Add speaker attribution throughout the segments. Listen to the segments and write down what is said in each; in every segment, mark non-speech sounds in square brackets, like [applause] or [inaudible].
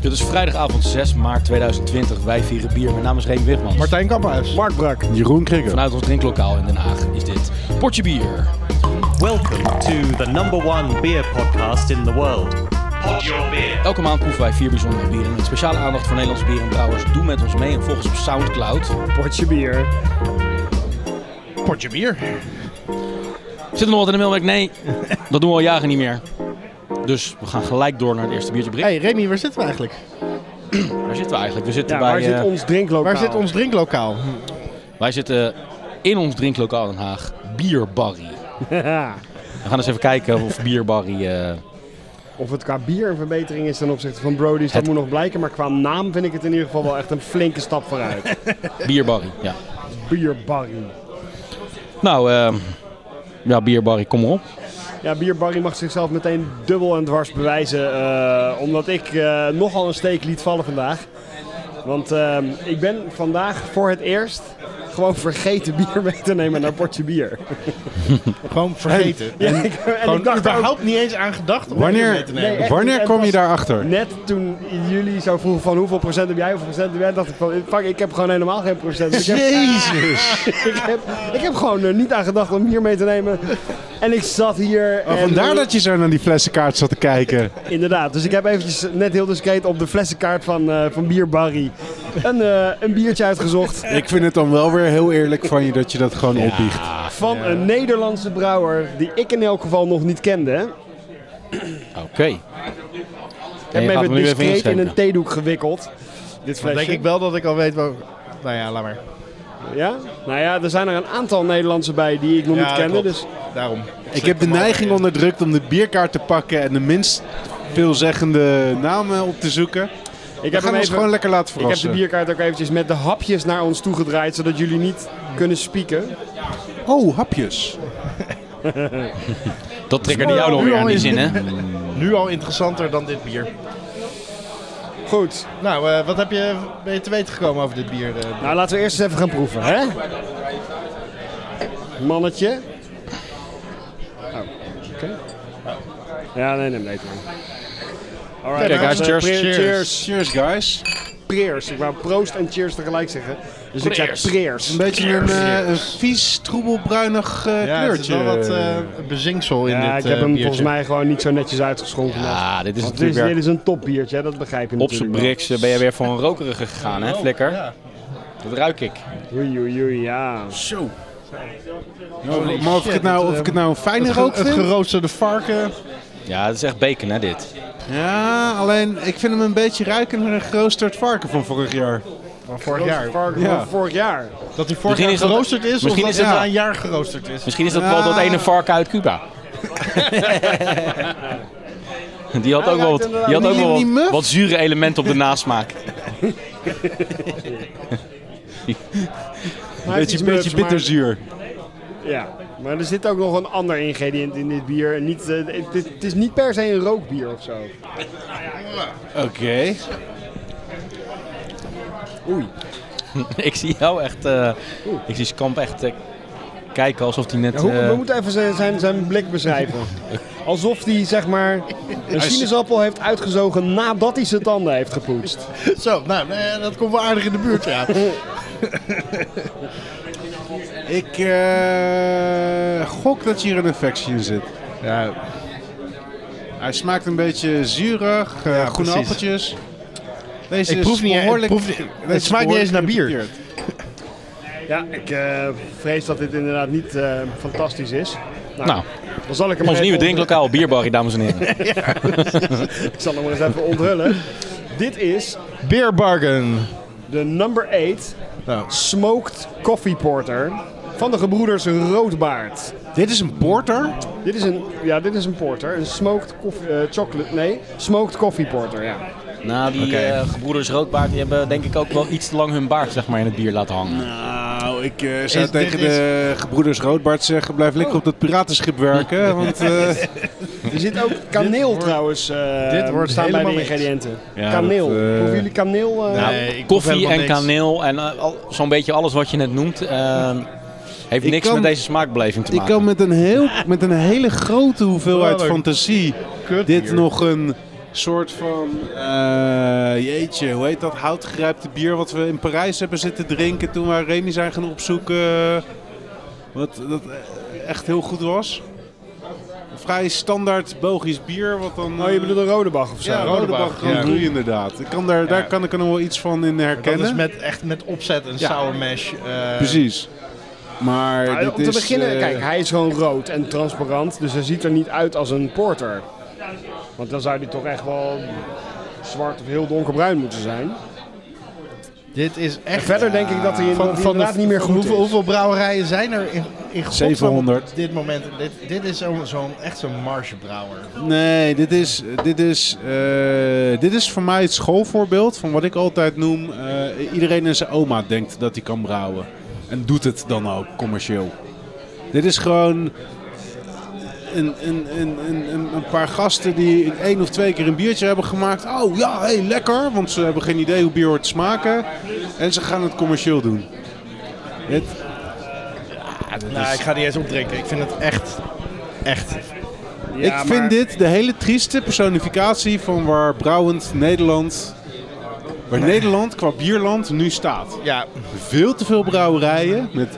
Speaker 1: Het is vrijdagavond 6 maart 2020. Wij vieren bier. Mijn naam is Reem Wigmans.
Speaker 2: Martijn Kamphuis.
Speaker 3: Mark Brak.
Speaker 2: Jeroen Krikker.
Speaker 1: Vanuit ons drinklokaal in Den Haag is dit Portje Bier.
Speaker 4: Welcome to the number one beer podcast in the world. Pod your beer.
Speaker 1: Elke maand proeven wij vier bijzondere bieren. Met speciale aandacht voor Nederlandse bierenbrouwers. Doe met ons mee en volg ons op Soundcloud.
Speaker 3: Portje bier.
Speaker 2: Potje bier.
Speaker 1: Zit er nog wat in de mailwerk? Nee, dat doen we al jaren niet meer. Dus we gaan gelijk door naar het eerste biertje. Brik,
Speaker 2: Hey Remy, waar zitten we eigenlijk?
Speaker 1: waar zitten we eigenlijk? We zitten
Speaker 3: Ja,
Speaker 1: bij,
Speaker 3: waar zit
Speaker 1: eh,
Speaker 3: ons drinklokaal?
Speaker 2: Waar zit ons drinklokaal?
Speaker 1: Wij zitten in ons drinklokaal Den Haag. Bierbarrie.
Speaker 3: [laughs] Ja.
Speaker 1: We gaan eens even kijken of Bierbarrie... eh,
Speaker 3: Of het qua bier een verbetering is ten opzichte van Brody's,
Speaker 1: Het-
Speaker 3: dat moet nog blijken. Maar qua naam vind ik het in ieder geval wel echt een flinke stap [laughs] vooruit.
Speaker 1: bierbarrie, ja.
Speaker 3: Bierbarry.
Speaker 1: Nou, ehm, ja, Bierbarrie, kom maar op.
Speaker 3: Ja, Bierbarry mag zichzelf meteen dubbel en dwars bewijzen. eh, omdat ik eh, nogal een steek liet vallen vandaag. Want ehm, ik ben vandaag voor het eerst gewoon vergeten bier [laughs] mee te nemen naar Portje Bier.
Speaker 2: Gewoon vergeten.
Speaker 3: Ja, ik, [laughs] en
Speaker 2: Gewoon
Speaker 3: ik dacht ook,
Speaker 2: überhaupt niet eens aan gedacht om
Speaker 5: Wanneer-
Speaker 2: dit mee te nemen.
Speaker 3: Nee, echt niet.
Speaker 5: Wanneer
Speaker 3: En
Speaker 5: kom je
Speaker 3: pas-
Speaker 5: daarachter?
Speaker 3: Net toen jullie zo vroegen van hoeveel procent heb jij, hoeveel procent heb jij, dacht ik van fuck, ik heb gewoon helemaal geen procent. Dus ik, heb,
Speaker 2: Jezus.
Speaker 3: [laughs] ik, heb, ik heb gewoon er niet aan gedacht om hier mee te nemen. En ik zat hier.
Speaker 5: Oh,
Speaker 3: en- eh,
Speaker 5: vandaar dat je zo naar die flessenkaart zat te kijken.
Speaker 3: Inderdaad, dus ik heb eventjes net heel discreet op de flessenkaart van, eh van Bier Barry een, eh, een biertje uitgezocht.
Speaker 5: Ik vind het dan wel weer heel eerlijk van je dat je dat gewoon opbiecht.
Speaker 3: Van een Nederlandse brouwer die ik in elk geval nog niet kende.
Speaker 1: Oké.
Speaker 3: Ik heb hem even discreet in een theedoek gewikkeld.
Speaker 2: Dan
Speaker 3: Dit flesje.
Speaker 2: denk ik wel dat ik al weet waar... Nou ja, laat maar.
Speaker 3: Ja? Nou ja, er zijn er een aantal Nederlandse bij die ik nog
Speaker 2: Ja,
Speaker 3: niet
Speaker 2: dat
Speaker 3: kende.
Speaker 2: klopt.
Speaker 3: Dus
Speaker 2: Daarom.
Speaker 5: Ik heb de
Speaker 2: eh,
Speaker 5: neiging onderdrukt om de bierkaart te pakken en de minst veelzeggende namen op te zoeken.
Speaker 3: ik
Speaker 5: We
Speaker 3: heb hem
Speaker 5: gaan ons
Speaker 3: even...
Speaker 5: gewoon lekker laten
Speaker 3: Ik heb de
Speaker 5: verrassen.
Speaker 3: bierkaart ook eventjes met de hapjes naar ons toegedraaid, zodat jullie niet kunnen spieken.
Speaker 5: Oh, hapjes.
Speaker 1: Dat triggerde jou nog weer aan die zin, hè?
Speaker 2: Nu al interessanter dan dit bier.
Speaker 3: Goed,
Speaker 2: Nou, eh, wat heb je, ben je te weten gekomen over dit bier? eh?
Speaker 3: nou laten we eerst eens even gaan proeven, hè? Mannetje. Oh, oké. Ja, nee, nee, nee. Alright,
Speaker 2: Kijk,
Speaker 1: guys,
Speaker 3: eh,
Speaker 1: cheers,
Speaker 3: pre-
Speaker 2: cheers.
Speaker 3: cheers.
Speaker 5: Cheers, guys.
Speaker 3: eh, Preers. Ik wou proost en cheers tegelijk zeggen. Dus ik
Speaker 1: Preers.
Speaker 3: zei preers.
Speaker 5: Een beetje een, eh, een vies, troebelbruinig eh,
Speaker 2: ja, het is
Speaker 5: kleurtje.
Speaker 2: wel wat eh, bezinksel in dit
Speaker 3: Ja,
Speaker 2: eh,
Speaker 3: ik heb hem
Speaker 2: biertje.
Speaker 3: volgens mij gewoon niet zo netjes uitgeschonken.
Speaker 1: Ja, dit is
Speaker 3: Want dit, is,
Speaker 1: natuurlijk
Speaker 3: dit
Speaker 1: weer...
Speaker 3: is een topbiertje, hè, dat begrijp je
Speaker 1: Op zijn
Speaker 3: natuurlijk wel.
Speaker 1: briks eh, ben je weer voor een rokerige gegaan, hè, Flikker?
Speaker 2: Ja.
Speaker 1: Dat ruik ik.
Speaker 3: Oei, oei, oei, ja.
Speaker 5: Oh, maar of ik het nou, of ik het nou een fijne
Speaker 2: Het,
Speaker 5: rook
Speaker 2: eh, ge- het
Speaker 5: vind?
Speaker 2: geroosterde varken.
Speaker 1: Ja, het is echt bacon, hè, dit.
Speaker 5: Ja, alleen ik vind hem een beetje ruiken naar een geroosterd varken van vorig jaar.
Speaker 2: Van vorig
Speaker 3: Roosje
Speaker 2: jaar.
Speaker 3: varken
Speaker 5: Ja.
Speaker 3: van vorig jaar.
Speaker 2: Dat hij vorig
Speaker 1: Misschien
Speaker 2: jaar
Speaker 1: is dat-
Speaker 2: geroosterd is, of
Speaker 1: misschien
Speaker 2: dat
Speaker 1: is
Speaker 2: het
Speaker 5: dat-
Speaker 2: na een jaar geroosterd is.
Speaker 1: Misschien is dat wel dat ene varken uit
Speaker 3: [laughs]
Speaker 1: Cuba. Die had
Speaker 3: Hij
Speaker 1: ook wel
Speaker 3: ruikt
Speaker 1: wat,
Speaker 3: inderdaad
Speaker 1: die had ook
Speaker 5: niet-
Speaker 1: wel
Speaker 5: niet
Speaker 1: wat,
Speaker 5: muf.
Speaker 1: wat zure elementen op de nasmaak.
Speaker 3: Een
Speaker 5: Beetje, beetje bitterzuur.
Speaker 3: Ja, maar er zit ook nog een ander ingrediënt in dit bier. Niet, eh, het, het- het is niet per se een rookbier of zo.
Speaker 5: Oké.
Speaker 3: Oei.
Speaker 1: [laughs] ik zie jou echt... eh, ik zie Skamp echt eh, kijken alsof hij net...
Speaker 3: Ja, hoe,
Speaker 1: eh,
Speaker 3: we moeten even zijn, zijn, zijn blik beschrijven. Alsof hij zeg maar een sinaasappel heeft uitgezogen nadat hij zijn tanden heeft gepoetst.
Speaker 2: Zo, nou, nou ja, dat komt wel aardig in de buurt, [laughs] ja.
Speaker 5: Ik eh, gok dat hier een infectie in zit.
Speaker 2: ja
Speaker 5: Hij smaakt een beetje zuurig, eh, groene
Speaker 2: precies.
Speaker 5: appeltjes. Deze
Speaker 2: Ik
Speaker 5: is
Speaker 2: proef niet- ik
Speaker 5: behoorlijk-
Speaker 2: proef niet-
Speaker 5: deze
Speaker 2: het
Speaker 5: is
Speaker 2: smaakt niet eens naar
Speaker 5: behoorlijk
Speaker 2: bier.
Speaker 5: geïnfecteerd.
Speaker 3: Ja, ik eh, vrees dat dit inderdaad niet eh, fantastisch is.
Speaker 1: Nou,
Speaker 3: dan zal ik hem
Speaker 1: ons
Speaker 3: even
Speaker 1: nieuwe
Speaker 3: onder-
Speaker 1: drinklokaal, Bierbarrie, dames en heren.
Speaker 3: Ik zal hem maar eens even onthullen. Dit is
Speaker 2: Beer Bargain.
Speaker 3: de number 8
Speaker 2: Nou,
Speaker 3: Smoked Coffee Porter van de gebroeders Roodbaard.
Speaker 5: Dit is een porter.
Speaker 3: Dit is een, ja, dit is een porter. Een smoked koffie, eh, chocolate, nee, smoked coffee porter, ja.
Speaker 1: [laughs] Nou, die eh, gebroeders Roodbaard die hebben denk ik ook wel iets te lang hun baard zeg maar, in het bier laten hangen.
Speaker 5: Nou, ik
Speaker 2: zou
Speaker 5: zou
Speaker 2: Is- tegen
Speaker 5: tegen
Speaker 2: dit is- Oh.
Speaker 5: de gebroeders Roodbaard zeggen, blijf lekker op dat piratenschip werken. Want eh,
Speaker 2: [laughs]
Speaker 3: Er zit
Speaker 5: [laughs]
Speaker 3: ook kaneel trouwens. eh,
Speaker 2: dit wordt
Speaker 3: staan bij de
Speaker 2: helemaal niks.
Speaker 3: ingrediënten.
Speaker 5: Ja,
Speaker 3: kaneel.
Speaker 5: dat, eh, Nou.
Speaker 3: Proeven jullie kaneel? eh?
Speaker 2: Nee, ik proef
Speaker 1: Koffie
Speaker 2: helemaal
Speaker 1: en
Speaker 2: niks.
Speaker 1: kaneel en eh, al- zo'n beetje alles wat je net noemt, eh, heeft
Speaker 5: Ik
Speaker 1: niks
Speaker 5: kan-
Speaker 1: met deze smaakbeleving te
Speaker 5: ik
Speaker 1: maken.
Speaker 5: kan met een, heel, met een hele grote hoeveelheid
Speaker 2: Wat een
Speaker 5: fantasie
Speaker 2: Kut
Speaker 5: dit
Speaker 2: bier.
Speaker 5: nog een soort van eh, eh, jeetje, hoe heet dat houtgrijpte bier wat we in Parijs hebben zitten drinken toen we Remy zijn gaan opzoeken. eh, Wat dat eh, echt heel goed was. Een vrij standaard Belgisch bier wat dan...
Speaker 3: Oh, je
Speaker 5: eh,
Speaker 3: bedoelt een rode bag of zo?
Speaker 5: Ja, Rodebach
Speaker 2: Rodebach,
Speaker 5: Grand
Speaker 2: ja.
Speaker 5: Cru inderdaad. Ik kan daar, daar kan ik er nog wel iets van in herkennen.
Speaker 2: Dat is met, echt met opzet een
Speaker 5: Ja.
Speaker 2: sour mash. eh,
Speaker 5: Precies. Maar
Speaker 3: Nou,
Speaker 5: dit
Speaker 3: om te
Speaker 5: is,
Speaker 3: beginnen,
Speaker 5: eh,
Speaker 3: kijk, hij is gewoon rood en transparant, dus hij ziet er niet uit als een porter. Want dan zou hij toch echt wel zwart of heel donkerbruin moeten zijn.
Speaker 2: Dit is
Speaker 3: En
Speaker 2: echt...
Speaker 3: verder denk ik dat hij in,
Speaker 2: Van, van de-
Speaker 3: inderdaad niet meer goed
Speaker 2: hoeveel,
Speaker 3: is.
Speaker 2: hoeveel brouwerijen zijn er in, in godsnaam
Speaker 5: 700.
Speaker 2: op dit moment? Dit, dit is zo'n zo'n- echt zo'n marsbrouwer.
Speaker 5: Nee, dit is, dit, is, eh, dit is voor mij het schoolvoorbeeld van wat ik altijd noem. eh, iedereen en zijn oma denkt dat hij kan brouwen. En doet het dan ook commercieel. Dit is gewoon een, een, een, een, een- een paar gasten die één of twee keer een biertje hebben gemaakt. Oh ja, hey, lekker. Want ze hebben geen idee hoe bier hoort te smaken. En ze gaan het commercieel doen. Het, ja, dat
Speaker 2: Nou,
Speaker 5: is-
Speaker 2: ik ga die eens opdrinken. Ik vind het echt... Echt.
Speaker 5: ik
Speaker 3: Ja,
Speaker 5: vind
Speaker 3: maar-
Speaker 5: dit de hele trieste personificatie van waar brouwend Nederland. Waar Nederland qua bierland nu staat.
Speaker 2: Ja,
Speaker 5: Veel te veel brouwerijen met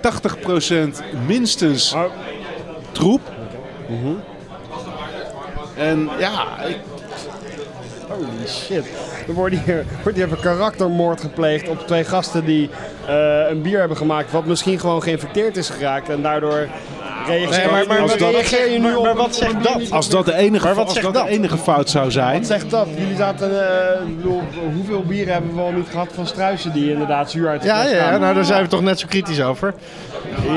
Speaker 5: 80% minstens
Speaker 3: Maar-
Speaker 5: troep. En ja, ik-
Speaker 3: Holy shit. Er wordt hier, wordt hier even karaktermoord gepleegd op twee gasten die eh, een bier hebben gemaakt wat misschien gewoon geïnfecteerd is geraakt en daardoor reageer,
Speaker 2: Nee, maar- maar-
Speaker 3: als
Speaker 2: maar-
Speaker 3: dat- reageer je nu
Speaker 2: maar-
Speaker 3: op.
Speaker 2: maar wat zegt
Speaker 3: een bier
Speaker 2: dat?
Speaker 3: niet-
Speaker 5: als dat de enige,
Speaker 2: Maar wat
Speaker 5: als
Speaker 2: zegt
Speaker 5: dat de
Speaker 2: dat?
Speaker 5: enige fout zou zijn.
Speaker 3: Wat zegt dat? Jullie zaten, eh, ik bedoel, hoeveel bieren hebben we al niet gehad van struisen die inderdaad zuur uit de
Speaker 2: ja,
Speaker 3: fles
Speaker 2: ja, ja,
Speaker 3: kwamen?
Speaker 2: nou daar zijn we toch net zo kritisch over.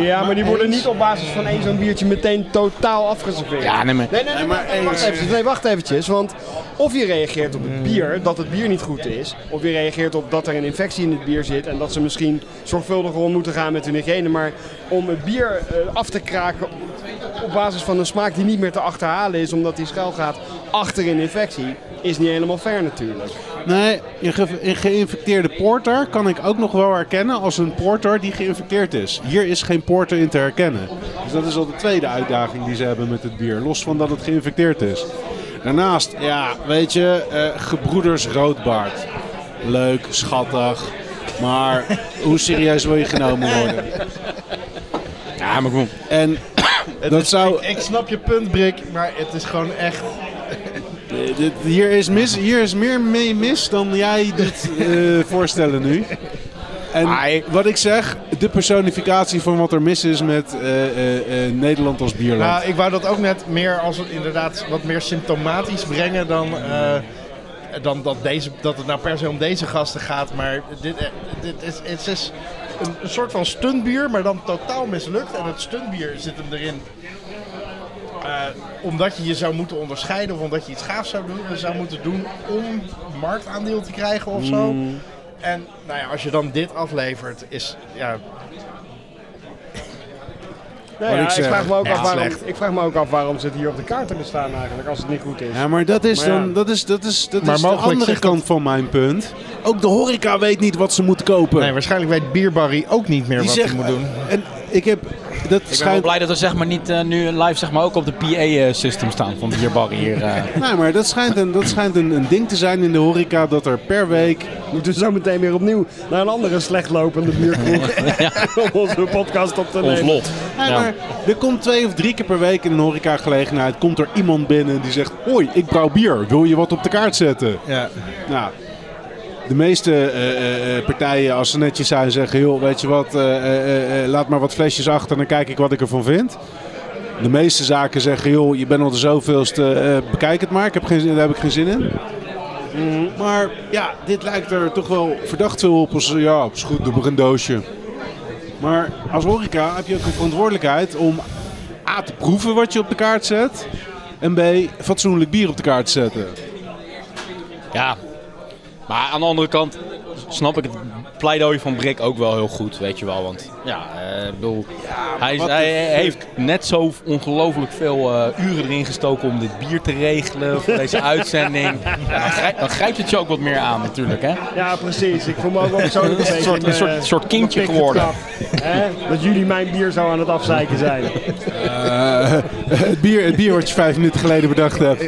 Speaker 3: Ja, maar die worden niet op basis van één zo'n biertje meteen totaal afgeserveerd.
Speaker 1: Ja, nee, maar...
Speaker 3: Nee, nee, nee, nee, wacht eventjes, nee, wacht eventjes. Want of je reageert op het bier, dat het bier niet goed is. Of je reageert op dat er een infectie in het bier zit. En dat ze misschien zorgvuldiger om moeten gaan met hun hygiëne. Maar om het bier eh, af te kraken op basis van een smaak die niet meer te achterhalen is. Omdat die schuil gaat achter een infectie. Is niet helemaal fair natuurlijk.
Speaker 5: Nee, een, ge- een geïnfecteerde porter kan ik ook nog wel herkennen als een porter die geïnfecteerd is. Hier is geen porter in te herkennen. Dus dat is al de tweede uitdaging die ze hebben met het bier, los van dat het geïnfecteerd is. Daarnaast, ja, weet je, eh, gebroeders roodbaard. Leuk, schattig, maar hoe serieus wil je genomen worden?
Speaker 1: Ja, maar kom op.
Speaker 5: En dat zou,
Speaker 2: Ik snap je punt, Brik, maar het is gewoon echt...
Speaker 5: eh, dit- hier, is mis, hier is meer mee mis dan jij
Speaker 2: [laughs]
Speaker 5: dit eh, voorstellen nu. En wat ik zeg, de personificatie van wat er mis is met eh, eh, eh, Nederland als bierland.
Speaker 2: Nou, ik wou dat ook net meer als het inderdaad wat meer symptomatisch brengen dan, eh, dan dat, deze, dat het nou per se om deze gasten gaat. Maar dit, eh, dit is, het is een, een soort van stuntbier, maar dan totaal mislukt. En het stuntbier zit hem erin. eh, omdat je je zou moeten onderscheiden of omdat je iets gaafs zou, doen, zou moeten doen om marktaandeel te krijgen of zo.
Speaker 5: Mm.
Speaker 2: En nou ja, als je dan dit aflevert, is ja,
Speaker 3: Nou ja,
Speaker 5: ik
Speaker 3: ik,
Speaker 5: zeg,
Speaker 3: vraag me ook
Speaker 2: echt
Speaker 3: af waarom,
Speaker 2: slecht.
Speaker 3: ik vraag me ook af waarom ze het hier op de kaart hebben staan eigenlijk. Als het niet goed is.
Speaker 5: ja, maar dat is
Speaker 3: Maar ja.
Speaker 5: dan dat is, dat is, dat
Speaker 2: Maar
Speaker 5: is de
Speaker 2: mogelijk
Speaker 5: andere
Speaker 2: zegt dat-
Speaker 5: kant van mijn punt. Ook de horeca weet niet wat ze moet kopen.
Speaker 2: Nee, waarschijnlijk weet Bierbarry ook niet meer
Speaker 5: Die
Speaker 2: wat
Speaker 5: zegt,
Speaker 2: hij moet doen.
Speaker 5: En ik heb, dat
Speaker 1: Ik ben wel
Speaker 5: schijnt
Speaker 1: blij dat we zeg maar niet eh, nu live zeg maar ook op de PA-system staan van de bierbar hier. eh. [laughs]
Speaker 5: Nee, maar dat schijnt, een, dat schijnt een, een ding te zijn in de horeca dat er per week
Speaker 3: moeten we zo meteen weer opnieuw naar een andere slechtlopende
Speaker 1: [laughs]
Speaker 3: bierkroeg. [laughs] om onze podcast op te nemen.
Speaker 1: Ons lot.
Speaker 5: Nee, maar er komt twee of drie keer per week in een horecagelegenheid komt er iemand binnen die zegt: Hoi, ik brouw bier. Wil je wat op de kaart zetten?
Speaker 2: Ja.
Speaker 5: Nou, de meeste eh, eh, eh, partijen, als ze netjes zijn, zeggen: Joh, weet je wat, eh, eh, eh, laat maar wat flesjes achter en dan kijk ik wat ik ervan vind. De meeste zaken zeggen: Joh, je bent al de zoveelste, eh, bekijk het maar. Ik heb geen, zin- daar heb ik geen zin in. Maar ja, dit lijkt er toch wel verdacht veel op. Als, ja, is goed, doe maar een doosje. Maar als horeca heb je ook een verantwoordelijkheid om A te proeven wat je op de kaart zet. En B, fatsoenlijk bier op de kaart te zetten.
Speaker 1: Ja, maar aan de andere kant snap ik het pleidooi van Brik ook wel heel goed, weet je wel. Want ja, eh, ik bedoel, hij, is-
Speaker 5: wat
Speaker 1: hij
Speaker 5: een fuck.
Speaker 1: heeft net zo ongelooflijk veel eh, uren erin gestoken om dit bier te regelen voor
Speaker 5: [laughs]
Speaker 1: deze uitzending. Ja, dan, grijp, dan grijpt het je ook wat meer aan natuurlijk, hè?
Speaker 3: Ja, precies. Ik voel me ook wel
Speaker 1: [laughs]
Speaker 3: persoonlijk een
Speaker 1: Een
Speaker 3: beetje...
Speaker 1: soort-
Speaker 3: in,
Speaker 1: een soort-
Speaker 3: eh,
Speaker 1: soort kindje
Speaker 3: mijn pik
Speaker 1: geworden.
Speaker 3: getrapt, hè? Dat jullie mijn bier zo aan het afzeiken zijn.
Speaker 5: Eh, [laughs] het, bier, het bier wat je vijf minuten geleden bedacht hebt.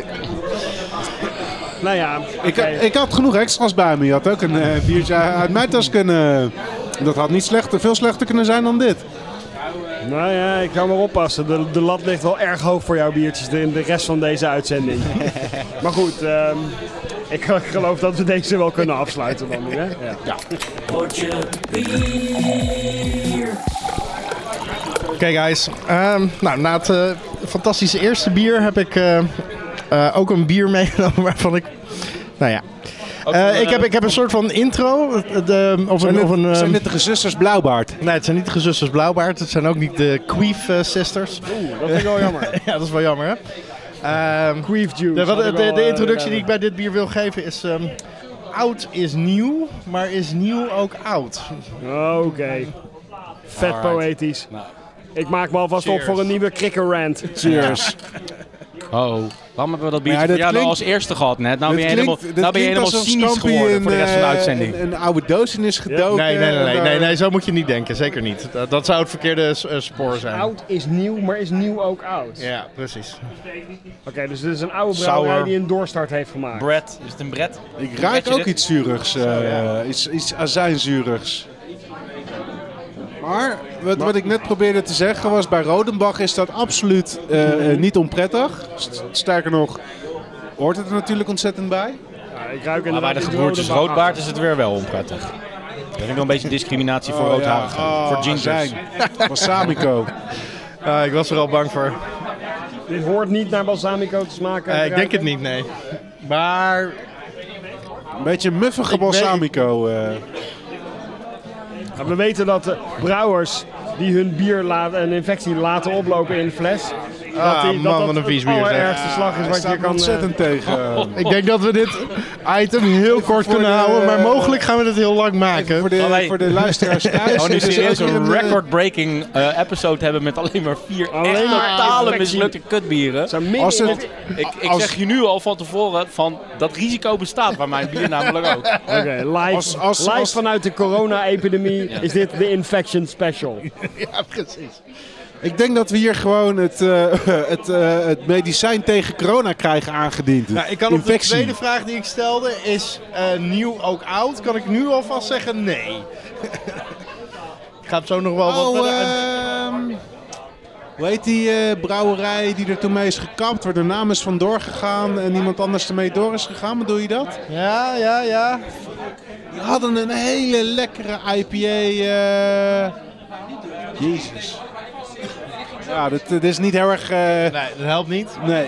Speaker 3: Nou ja,
Speaker 5: Ik,
Speaker 3: oké.
Speaker 5: had- ik had genoeg extra's bij me. Je had ook een eh, biertje uit mijn tas kunnen. Dat had niet slechter, veel slechter kunnen zijn dan dit.
Speaker 3: Nou ja, ik kan maar oppassen. De, de lat ligt wel erg hoog voor jouw biertjes in de rest van deze
Speaker 2: [laughs]
Speaker 3: uitzending. maar goed, ehm, ik geloof dat we deze wel kunnen afsluiten dan nu, hè? Ja.
Speaker 2: Oké guys, Ehm, nou, na het eh, fantastische eerste bier heb ik eh, eh, ook een bier [laughs] meegenomen waarvan ik... Nou ja. Eh, ik, heb, ik heb een soort van intro. eh, de- of een, of een,
Speaker 5: Het zijn
Speaker 2: ehm,
Speaker 5: net de gezusters Blauwbaard.
Speaker 2: nee, het zijn niet de gezusters Blauwbaard. Het zijn ook niet de Queef eh, Sisters.
Speaker 3: Dat vind ik wel jammer.
Speaker 2: [laughs] ja, dat is wel jammer hè. Ehm,
Speaker 3: Grief juice.
Speaker 2: de, wat-
Speaker 3: had
Speaker 2: de,
Speaker 3: ik
Speaker 2: de,
Speaker 3: wel, eh,
Speaker 2: introductie die ik bij dit bier wil geven is... ehm, oud is nieuw, maar is nieuw ook oud?
Speaker 3: Oké. Vet poëtisch. Ik maak me alvast op
Speaker 2: Nou. Cheers.
Speaker 3: voor een nieuwe krikker rant.
Speaker 5: Cheers.
Speaker 1: Oh, waarom hebben we dat biertje
Speaker 5: Ja,
Speaker 1: ja,
Speaker 5: dat
Speaker 1: jou nou
Speaker 5: klinkt-
Speaker 1: als eerste gehad net? Nou ben je
Speaker 5: Dit
Speaker 1: helemaal,
Speaker 5: klinkt- dit
Speaker 1: nou ben je
Speaker 5: klinkt
Speaker 1: helemaal cynisch
Speaker 5: alsof Scampi
Speaker 1: geworden
Speaker 5: een,
Speaker 1: voor de rest van de
Speaker 5: eh,
Speaker 1: uitzending.
Speaker 5: Een, een oude doos in is gedoken.
Speaker 2: Nee, nee, nee, nee,
Speaker 5: en eh,
Speaker 2: nee,
Speaker 5: daar-
Speaker 2: nee, zo moet je niet denken. Zeker niet. Dat, dat zou het verkeerde s- eh, spoor zijn.
Speaker 3: Oud is nieuw, maar is nieuw ook oud.
Speaker 2: Ja, precies.
Speaker 3: Oké, dus dit is een oude brouwerij
Speaker 1: Sour.
Speaker 3: die een doorstart heeft gemaakt.
Speaker 1: Brett, is het een Brett?
Speaker 5: Ik ruik ook iets zurigs. eh, iets, iets azijnzurigs. Maar wat, wat ik net probeerde te zeggen was, bij Rodenbach is dat absoluut eh, eh, niet onprettig. St- Sterker nog, hoort het er natuurlijk ontzettend bij.
Speaker 3: Ja,
Speaker 1: Maar
Speaker 3: ik ruik
Speaker 1: bij
Speaker 3: inderdaad
Speaker 1: de
Speaker 3: iets
Speaker 1: gebroertjes
Speaker 3: rode
Speaker 1: Roodbaard is het weer wel onprettig. Er is wel een beetje discriminatie voor
Speaker 5: Oh, ja.
Speaker 1: roodharigen,
Speaker 5: Oh,
Speaker 1: voor gingers.
Speaker 5: azijn. Balsamico.
Speaker 2: Ah, ik was er al bang voor.
Speaker 3: bagage. Dit hoort niet naar balsamico te smaken.
Speaker 2: Eh, ik denk het niet, nee. Maar
Speaker 5: Een [laughs] beetje muffige
Speaker 2: Ik weet-
Speaker 5: balsamico. eh.
Speaker 3: Ja, We weten dat de brouwers die hun bier laten, een infectie laten oplopen in een fles.
Speaker 2: Ah,
Speaker 3: dat
Speaker 2: man, wat een vies bier,
Speaker 3: Het
Speaker 2: zeg.
Speaker 3: allerergste slag is
Speaker 5: Hij
Speaker 3: wat
Speaker 5: staat
Speaker 3: je
Speaker 5: me
Speaker 3: kan. eh,
Speaker 5: ontzettend tegen. [laughs]
Speaker 2: ik denk dat we dit item heel kort
Speaker 5: voor
Speaker 2: kunnen
Speaker 5: de-
Speaker 2: houden. Maar mogelijk gaan we dit heel lang maken.
Speaker 5: Voor de,
Speaker 1: Oh, nee.
Speaker 5: voor de [laughs] luisteraars
Speaker 1: [laughs]
Speaker 5: thuis.
Speaker 1: Oh, nu
Speaker 5: dit is
Speaker 1: serieus
Speaker 5: ook
Speaker 1: een
Speaker 5: eh,
Speaker 1: record-breaking eh, episode hebben met alleen maar vier
Speaker 3: Alleen
Speaker 1: echt
Speaker 3: maar
Speaker 1: totale
Speaker 3: perfectie.
Speaker 1: mislukte kutbieren.
Speaker 3: zijn midden
Speaker 5: eh, Als
Speaker 3: in
Speaker 5: het,
Speaker 3: het-
Speaker 1: Ik, ik
Speaker 5: als-
Speaker 1: zeg je nu al van tevoren van dat risico bestaat bij mijn bier namelijk ook.
Speaker 3: Oké, live,
Speaker 5: Als- als-
Speaker 3: live
Speaker 5: als-
Speaker 3: vanuit de corona-epidemie
Speaker 1: Ja.
Speaker 3: is dit de infection special.
Speaker 2: Ja, precies.
Speaker 5: ik denk dat we hier gewoon het, eh, [laughs] het, eh, het medicijn tegen corona krijgen aangediend.
Speaker 2: Nou, ik kan op
Speaker 5: Infectie.
Speaker 2: de tweede vraag die ik stelde, is eh, nieuw ook oud? Kan ik nu alvast zeggen nee? [laughs] ik ga het zo nog wel wat
Speaker 5: Oh,
Speaker 2: verder-
Speaker 5: ehm, hoe heet die eh, brouwerij die er toen mee is gekapt, waar de naam is vandoor gegaan en iemand anders ermee door is gegaan? Bedoel je dat?
Speaker 2: Ja, ja, ja.
Speaker 5: Die hadden een hele lekkere IPA. eh, Jezus. Ja, dit, dit is niet heel erg. eh,
Speaker 2: Nee, dat helpt niet.
Speaker 5: nee.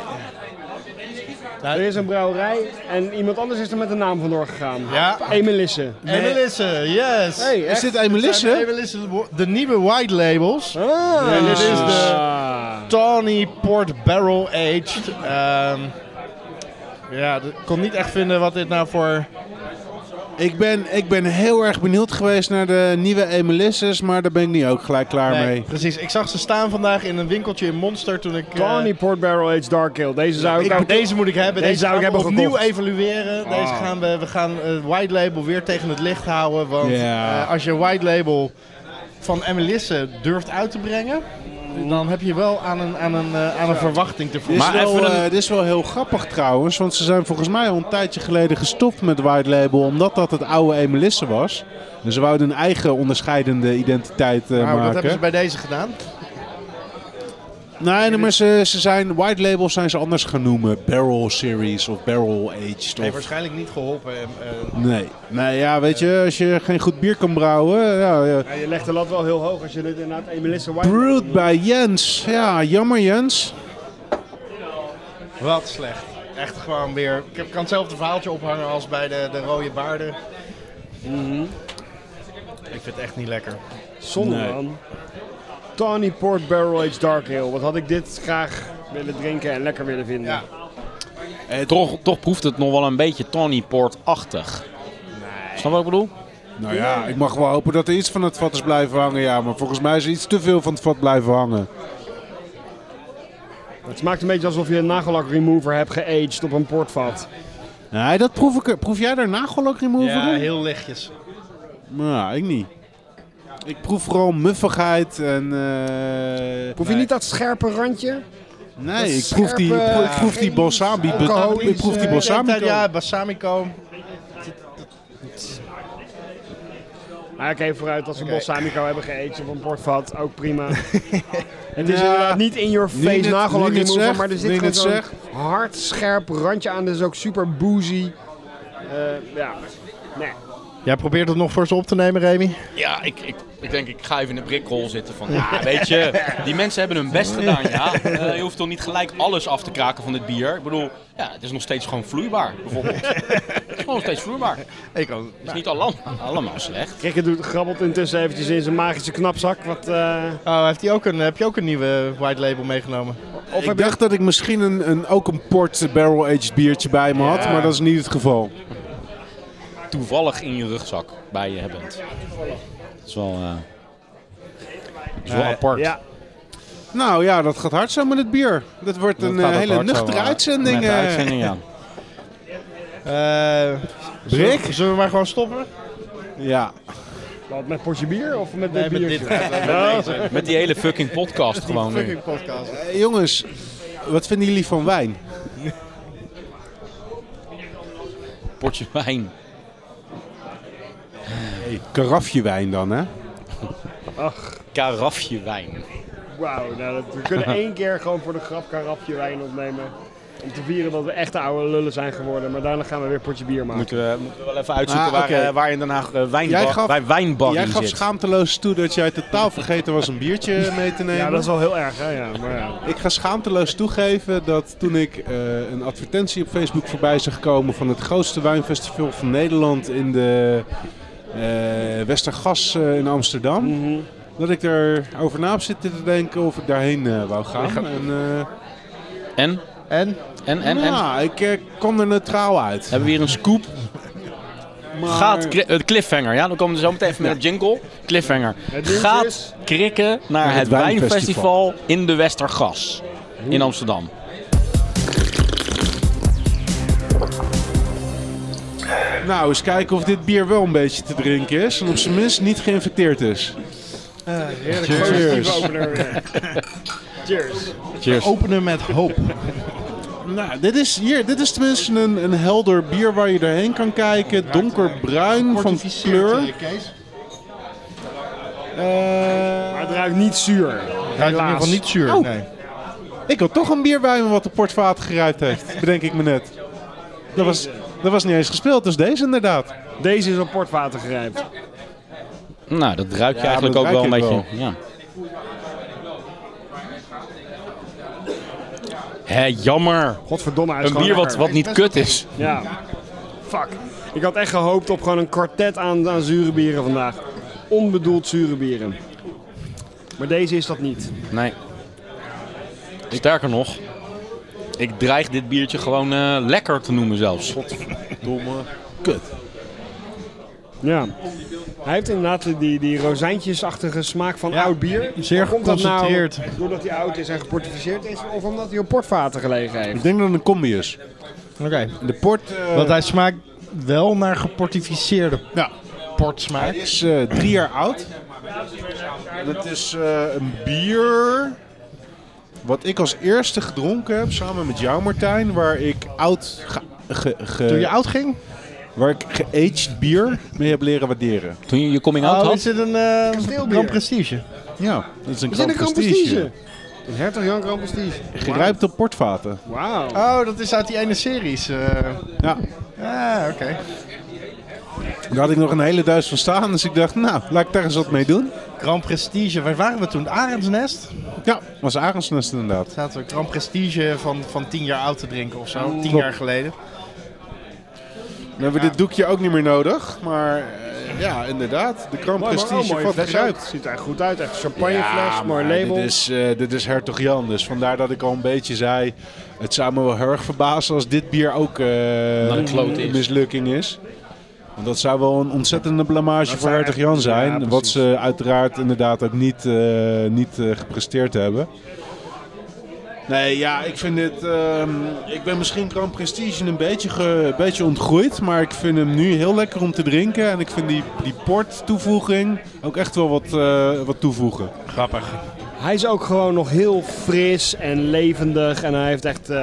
Speaker 3: Er is een brouwerij en iemand anders is er met de naam vandoor gegaan.
Speaker 2: Ja.
Speaker 3: Emelisse.
Speaker 2: En Melissa, yes.
Speaker 3: Hey,
Speaker 5: Is
Speaker 3: echt?
Speaker 5: dit Emelisse?
Speaker 2: Emelisse, de nieuwe white labels.
Speaker 3: Ah.
Speaker 2: En dit is Tawny Port Barrel Aged. Ehm, ja, ik kon niet echt vinden wat dit nou voor...
Speaker 5: Ik ben, ik ben heel erg benieuwd geweest naar de nieuwe Emelisses, maar daar ben ik niet ook gelijk klaar mee.
Speaker 2: precies. Ik zag ze staan vandaag in een winkeltje in Monster toen ik... eh,
Speaker 3: Tawny Port Barrel Aged Dark Ale. Deze zou ik,
Speaker 2: ik,
Speaker 3: ook...
Speaker 2: deze moet ik hebben.
Speaker 3: Deze zou ik
Speaker 2: gaan we
Speaker 3: hebben
Speaker 2: opnieuw
Speaker 3: gekocht. Ah.
Speaker 2: evalueren. Deze gaan we, we gaan eh, white label weer tegen het licht houden. Want
Speaker 5: Ja.
Speaker 2: eh, als je white label van Emelisse durft uit te brengen, dan heb je wel aan een, aan een, eh, aan een verwachting te
Speaker 5: Dit is,
Speaker 1: Maar
Speaker 5: wel,
Speaker 1: even een-
Speaker 5: eh, dit is wel heel grappig trouwens, want ze zijn volgens mij al een tijdje geleden gestopt met White Label, omdat dat het oude Emelisse was. En ze wouden hun eigen onderscheidende identiteit eh,
Speaker 2: Nou, dat hebben ze
Speaker 5: maken.
Speaker 2: bij deze gedaan.
Speaker 5: Nee, nee, maar ze, ze zijn, White Label zijn ze anders gaan noemen. Barrel Series of Barrel Aged.
Speaker 2: Nee,
Speaker 5: Of,
Speaker 2: waarschijnlijk niet geholpen. eh, eh,
Speaker 5: nee. nee, ja, weet je, als je geen goed bier kan brouwen, ja, ja,
Speaker 3: Ja, je legt de lat wel heel hoog als je dit inderdaad Emelisse White...
Speaker 5: Brewed bij Jens. Ja, jammer Jens.
Speaker 2: Wat slecht. Echt gewoon weer. Ik heb- kan hetzelfde verhaaltje ophangen als bij de, de rode baarden. Ik vind het echt niet lekker.
Speaker 3: Zonde
Speaker 5: Nee.
Speaker 3: man. Tawny Port Barrel Aged Dark Ale. Wat had ik dit graag willen drinken en lekker willen vinden.
Speaker 2: Ja.
Speaker 1: Eh, toch, toch proeft het nog wel een beetje Tony Port-achtig. Snap je wat ik bedoel?
Speaker 5: Nou ja, ik mag wel hopen dat er iets van het vat is blijven hangen. Ja, maar volgens mij is er iets te veel van het vat blijven hangen.
Speaker 3: Het smaakt een beetje alsof je een nagellak remover hebt geaged op een portvat.
Speaker 5: Nee, dat proef ik. Proef jij daar nagelak remover
Speaker 2: Ja,
Speaker 5: in?
Speaker 2: heel lichtjes.
Speaker 5: Nou, ik niet. Ik proef vooral muffigheid en... eh,
Speaker 3: Proef je niet dat scherpe randje?
Speaker 5: Nee, ik proef die, ik proef- ik proef die balsami. Ik proef die balsamico.
Speaker 2: eh, Ja, balsamico.
Speaker 3: Maar oké, vooruit als we
Speaker 2: Oké.
Speaker 3: balsamico hebben geëten of een portvat, ook
Speaker 5: [laughs]
Speaker 3: prima. het is
Speaker 5: Ja.
Speaker 3: inderdaad niet in your
Speaker 5: Nu je
Speaker 3: face
Speaker 5: het-
Speaker 3: nagellak
Speaker 5: nu je het
Speaker 3: remover,
Speaker 5: zegt,
Speaker 3: maar er
Speaker 5: nu
Speaker 3: zit
Speaker 5: je
Speaker 3: gewoon
Speaker 5: het
Speaker 3: zo'n
Speaker 5: zegt.
Speaker 3: hard, scherp randje aan. Dat is ook super boozy. Eh, ja, nee.
Speaker 2: Jij probeert het nog voor ze op te nemen, Remy?
Speaker 1: Ja, ik, ik, ik denk ik ga even in de brikrol zitten van, ja, weet je, die mensen hebben hun best gedaan, ja. Eh, je hoeft toch niet gelijk alles af te kraken van dit bier. Ik bedoel, ja, het is nog steeds gewoon vloeibaar,
Speaker 5: [laughs]
Speaker 1: bijvoorbeeld. het is gewoon nog steeds vloeibaar. Het
Speaker 2: Ik kan.
Speaker 1: is niet allemaal, allemaal slecht.
Speaker 3: Krikke doet grabbelt intussen eventjes in zijn magische knapzak. Wat, eh,
Speaker 2: Oh, heeft hij ook een, heb je ook een nieuwe white label meegenomen?
Speaker 3: of
Speaker 5: Ik
Speaker 3: heb je-
Speaker 5: dacht dat ik misschien een, een, ook een port barrel-aged biertje bij me had, maar dat is niet het geval.
Speaker 1: Toevallig in je rugzak bij je hebben. Dat is wel, eh, dat is wel
Speaker 5: Eh,
Speaker 1: apart.
Speaker 3: Ja,
Speaker 5: Nou ja, dat gaat hard zo met het bier. Dat wordt
Speaker 1: Dat
Speaker 5: een
Speaker 1: gaat
Speaker 5: eh,
Speaker 1: ook
Speaker 5: hele
Speaker 1: hard zo,
Speaker 5: nuchtere
Speaker 1: eh,
Speaker 5: uitzending.
Speaker 1: Met de
Speaker 5: eh.
Speaker 1: uitzending,
Speaker 5: [laughs]
Speaker 1: ja.
Speaker 2: Eh
Speaker 5: Brik?
Speaker 2: zullen- Zullen we maar gewoon stoppen?
Speaker 5: Ja.
Speaker 3: wat, met potje bier of met dit
Speaker 2: met
Speaker 3: biertje?
Speaker 2: dit.
Speaker 1: Met die hele fucking podcast gewoon nu.
Speaker 2: Fucking podcast.
Speaker 5: Eh, jongens, wat vinden jullie van wijn?
Speaker 1: Potje wijn.
Speaker 5: Karafje wijn dan, hè?
Speaker 1: Karafje wijn.
Speaker 3: Wauw, nou, dat- we
Speaker 5: [laughs]
Speaker 3: kunnen één keer gewoon voor de grap karafje wijn opnemen. Om te vieren dat we echte oude lullen zijn geworden. Maar daarna gaan we weer potje bier maken.
Speaker 1: Moeten we, moeten we wel even uitzoeken
Speaker 5: Ah,
Speaker 1: waar,
Speaker 5: oké.
Speaker 1: eh, waar in Den Haag eh,
Speaker 5: Jij
Speaker 1: wijnbar,
Speaker 5: gaf-
Speaker 1: bij wijnbar
Speaker 5: Jij gaf
Speaker 1: zit.
Speaker 5: schaamteloos toe dat jij totaal vergeten was een
Speaker 1: [laughs]
Speaker 5: biertje mee te nemen.
Speaker 3: Ja, dat is wel heel erg, hè? Ja, maar ja.
Speaker 5: Ik ga schaamteloos toegeven dat toen ik eh, een advertentie op Facebook voorbij zag komen van het grootste wijnfestival van Nederland in de eh, Westergas eh, in Amsterdam,
Speaker 1: Mhm.
Speaker 5: dat ik erover na heb zitten te denken of ik daarheen eh, wou gaan. En, eh,
Speaker 1: En?
Speaker 2: En?
Speaker 1: En, en, en?
Speaker 5: ja, ik eh, kwam er neutraal uit.
Speaker 1: Hebben we hier een scoop?
Speaker 5: Maar-
Speaker 1: Gaat cli- eh, cliffhanger, ja? Dan komen we zo meteen even met een jingle. Cliffhanger.
Speaker 3: dingetje
Speaker 1: Gaat
Speaker 3: is-
Speaker 1: krikken naar
Speaker 5: het
Speaker 1: het
Speaker 5: wijnfestival.
Speaker 1: wijnfestival in de Westergas in Amsterdam.
Speaker 5: Nou, eens kijken of dit bier wel een beetje te drinken is en op zijn minst niet geïnfecteerd is.
Speaker 3: Positieve opener eh, weer. Cheers.
Speaker 1: Cheers.
Speaker 2: Openen met hoop.
Speaker 5: Nou, dit is, hier, dit is tenminste een, een helder bier waar je doorheen kan kijken. Donkerbruin van kleur.
Speaker 2: Kees.
Speaker 3: Maar het ruikt niet zuur.
Speaker 2: Ruikt in ieder
Speaker 3: Helaas.
Speaker 2: geval niet zuur.
Speaker 5: Oh.
Speaker 2: Nee.
Speaker 5: Ik had toch een bier bij me wat de portvaat geruid heeft, bedenk ik me net. Dat was, dat was niet eens gespeeld, dus deze inderdaad.
Speaker 3: Deze is op portwater gerijpt.
Speaker 1: Nou, dat ruik je
Speaker 5: Ja,
Speaker 1: eigenlijk
Speaker 5: dat
Speaker 1: ook wel een
Speaker 5: ruik ik
Speaker 1: beetje. Ja. Hé, jammer.
Speaker 3: Godverdomme, hij is
Speaker 1: Een
Speaker 3: gewoon
Speaker 1: bier wat,
Speaker 3: lekker.
Speaker 1: wat niet kut is.
Speaker 3: Ja. Fuck. Ik had echt gehoopt op gewoon een kwartet aan, aan zure bieren vandaag. Onbedoeld zure bieren. Maar deze is dat niet.
Speaker 1: Nee. Sterker nog, ik dreig dit biertje gewoon eh, lekker te noemen zelfs.
Speaker 5: Domme kut.
Speaker 3: Ja. Hij heeft inderdaad die, die rozijntjesachtige smaak van
Speaker 2: Ja,
Speaker 3: oud bier.
Speaker 2: zeer
Speaker 3: Maar komt dat nou
Speaker 2: geconcentreerd.
Speaker 3: doordat hij oud is en geportificeerd is, of omdat hij op portvaten gelegen heeft?
Speaker 5: Ik denk dat het een combi is.
Speaker 2: Oké.
Speaker 5: De port eh,
Speaker 2: Want hij smaakt wel naar geportificeerde
Speaker 5: Ja.
Speaker 2: port smaak.
Speaker 5: is eh, drie jaar oud. Dat is eh, een bier wat ik als eerste gedronken heb samen met jou Martijn. Waar ik oud, ge, ge- ge-
Speaker 2: Toen je oud ging?
Speaker 5: waar ik geaged bier mee heb leren waarderen.
Speaker 1: Toen je je coming out
Speaker 2: oh,
Speaker 1: had?
Speaker 2: is dit een eh
Speaker 3: Kasteelbier.
Speaker 2: Grand Prestige?
Speaker 5: Ja, dat is een
Speaker 3: Is dit
Speaker 5: Grand
Speaker 3: een Grand
Speaker 5: Prestige.
Speaker 3: Prestige? Een Hertog Jan Grand Prestige.
Speaker 5: Gerijpt op portvaten.
Speaker 3: Wauw.
Speaker 2: Oh, dat is uit die ene series. eh.
Speaker 5: Ja.
Speaker 2: ah, oké.
Speaker 5: Daar had ik nog een hele duis van staan, dus ik dacht, nou, laat ik daar eens wat mee doen.
Speaker 2: Grand Prestige, waar waren we toen? Arendsnest?
Speaker 5: Ja, was Arendsnest inderdaad.
Speaker 2: Zaten we Grand Prestige van, van tien jaar oud te drinken of zo? Tien
Speaker 5: Klopt.
Speaker 2: jaar geleden.
Speaker 5: Dan hebben we dit doekje ook niet meer nodig, maar eh, ja, inderdaad. De Grand
Speaker 3: Mooi, maar wel
Speaker 5: Prestige
Speaker 3: mooie
Speaker 5: van
Speaker 3: fles
Speaker 5: geruikt.
Speaker 3: ook. Ziet er goed uit. Echt champagnefles, mooi
Speaker 5: maar
Speaker 3: label.
Speaker 5: Dit is, eh, dit is Hertog Jan, dus vandaar dat ik al een beetje zei... Het zou me wel heel erg verbazen als dit bier ook eh,
Speaker 1: de klote
Speaker 5: een
Speaker 1: is.
Speaker 5: mislukking is. Want dat zou wel een ontzettende blamage voor
Speaker 3: zou
Speaker 5: Hertog
Speaker 3: echt-
Speaker 5: Jan zijn.
Speaker 3: ja,
Speaker 5: wat
Speaker 3: precies.
Speaker 5: ze uiteraard inderdaad ook niet, eh, niet eh, gepresteerd hebben. Nee, ja, ik vind dit... ehm, ik ben misschien Grand Prestige een beetje, ge- een beetje ontgroeid. Maar ik vind hem nu heel lekker om te drinken. En ik vind die, die port toevoeging ook echt wel wat, eh, wat toevoegen.
Speaker 2: Grappig.
Speaker 3: Hij is ook gewoon nog heel fris en levendig. En hij heeft echt eh,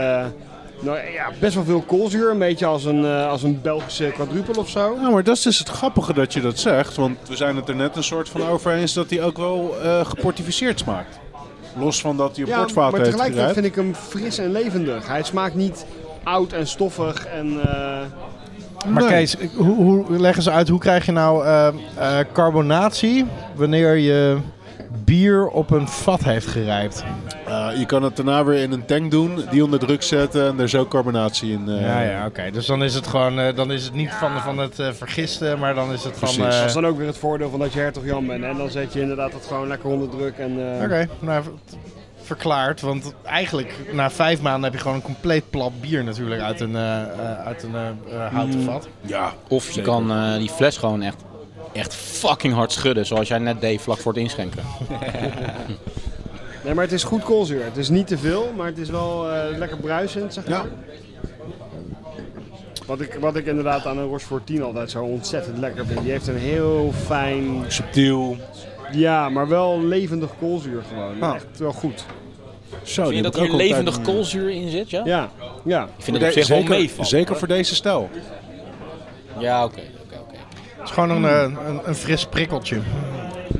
Speaker 3: nou, ja, best wel veel koolzuur. Een beetje als een, eh, als een Belgische quadrupel of zo.
Speaker 5: Nou, maar dat is dus het grappige dat je dat zegt. Want we zijn het er net een soort van over eens dat hij ook wel eh geportificeerd smaakt. Los van dat hij een
Speaker 3: maar
Speaker 5: portfout heeft
Speaker 3: tegelijkertijd
Speaker 5: gerijpt.
Speaker 3: vind ik hem fris en levendig. Hij smaakt niet oud en stoffig. En, eh,
Speaker 2: Maar
Speaker 5: Nee.
Speaker 2: Kees, hoe, hoe leggen ze uit, hoe krijg je nou eh, eh, carbonatie wanneer je bier op een vat heeft gerijpt?
Speaker 5: Eh, je kan het daarna weer in een tank doen, die onder druk zetten en er zo carbonatie in. eh,
Speaker 2: ja, ja, oké. Dus dan is het gewoon, eh, dan is het niet van, van het eh, vergisten, maar dan is het van...
Speaker 5: Precies.
Speaker 2: eh,
Speaker 3: dat is dan ook weer het voordeel van dat je hertog Jan bent. En dan zet je inderdaad dat gewoon lekker onder druk. En, eh,
Speaker 2: Oké, nou v- verklaard. Want eigenlijk na vijf maanden heb je gewoon een compleet plat bier natuurlijk uit een, eh, eh, uit een eh, eh, houten vat.
Speaker 5: Ja,
Speaker 1: Of je kan eh, die fles gewoon echt, echt fucking hard schudden, zoals jij net deed vlak voor het inschenken.
Speaker 3: Nee, maar het is goed koolzuur. Het is niet te veel, maar het is wel eh, lekker bruisend, zeg maar.
Speaker 5: Ja.
Speaker 3: Wat ik, wat ik inderdaad aan een Rochefort 10 altijd zo ontzettend lekker vind. Die heeft een heel fijn,
Speaker 5: subtiel.
Speaker 3: ja, maar wel levendig koolzuur gewoon.
Speaker 5: Ah.
Speaker 3: Echt wel goed.
Speaker 5: Zo,
Speaker 1: Vind je dat hier levendig koolzuur in zit? Ja?
Speaker 3: Ja, ja.
Speaker 1: Ik vind het op zich wel
Speaker 5: eh, zeker,
Speaker 1: meevallen.
Speaker 5: Zeker voor deze stijl.
Speaker 1: Ja, oké. oké, oké.
Speaker 2: Het is gewoon een, eh, een, een fris prikkeltje.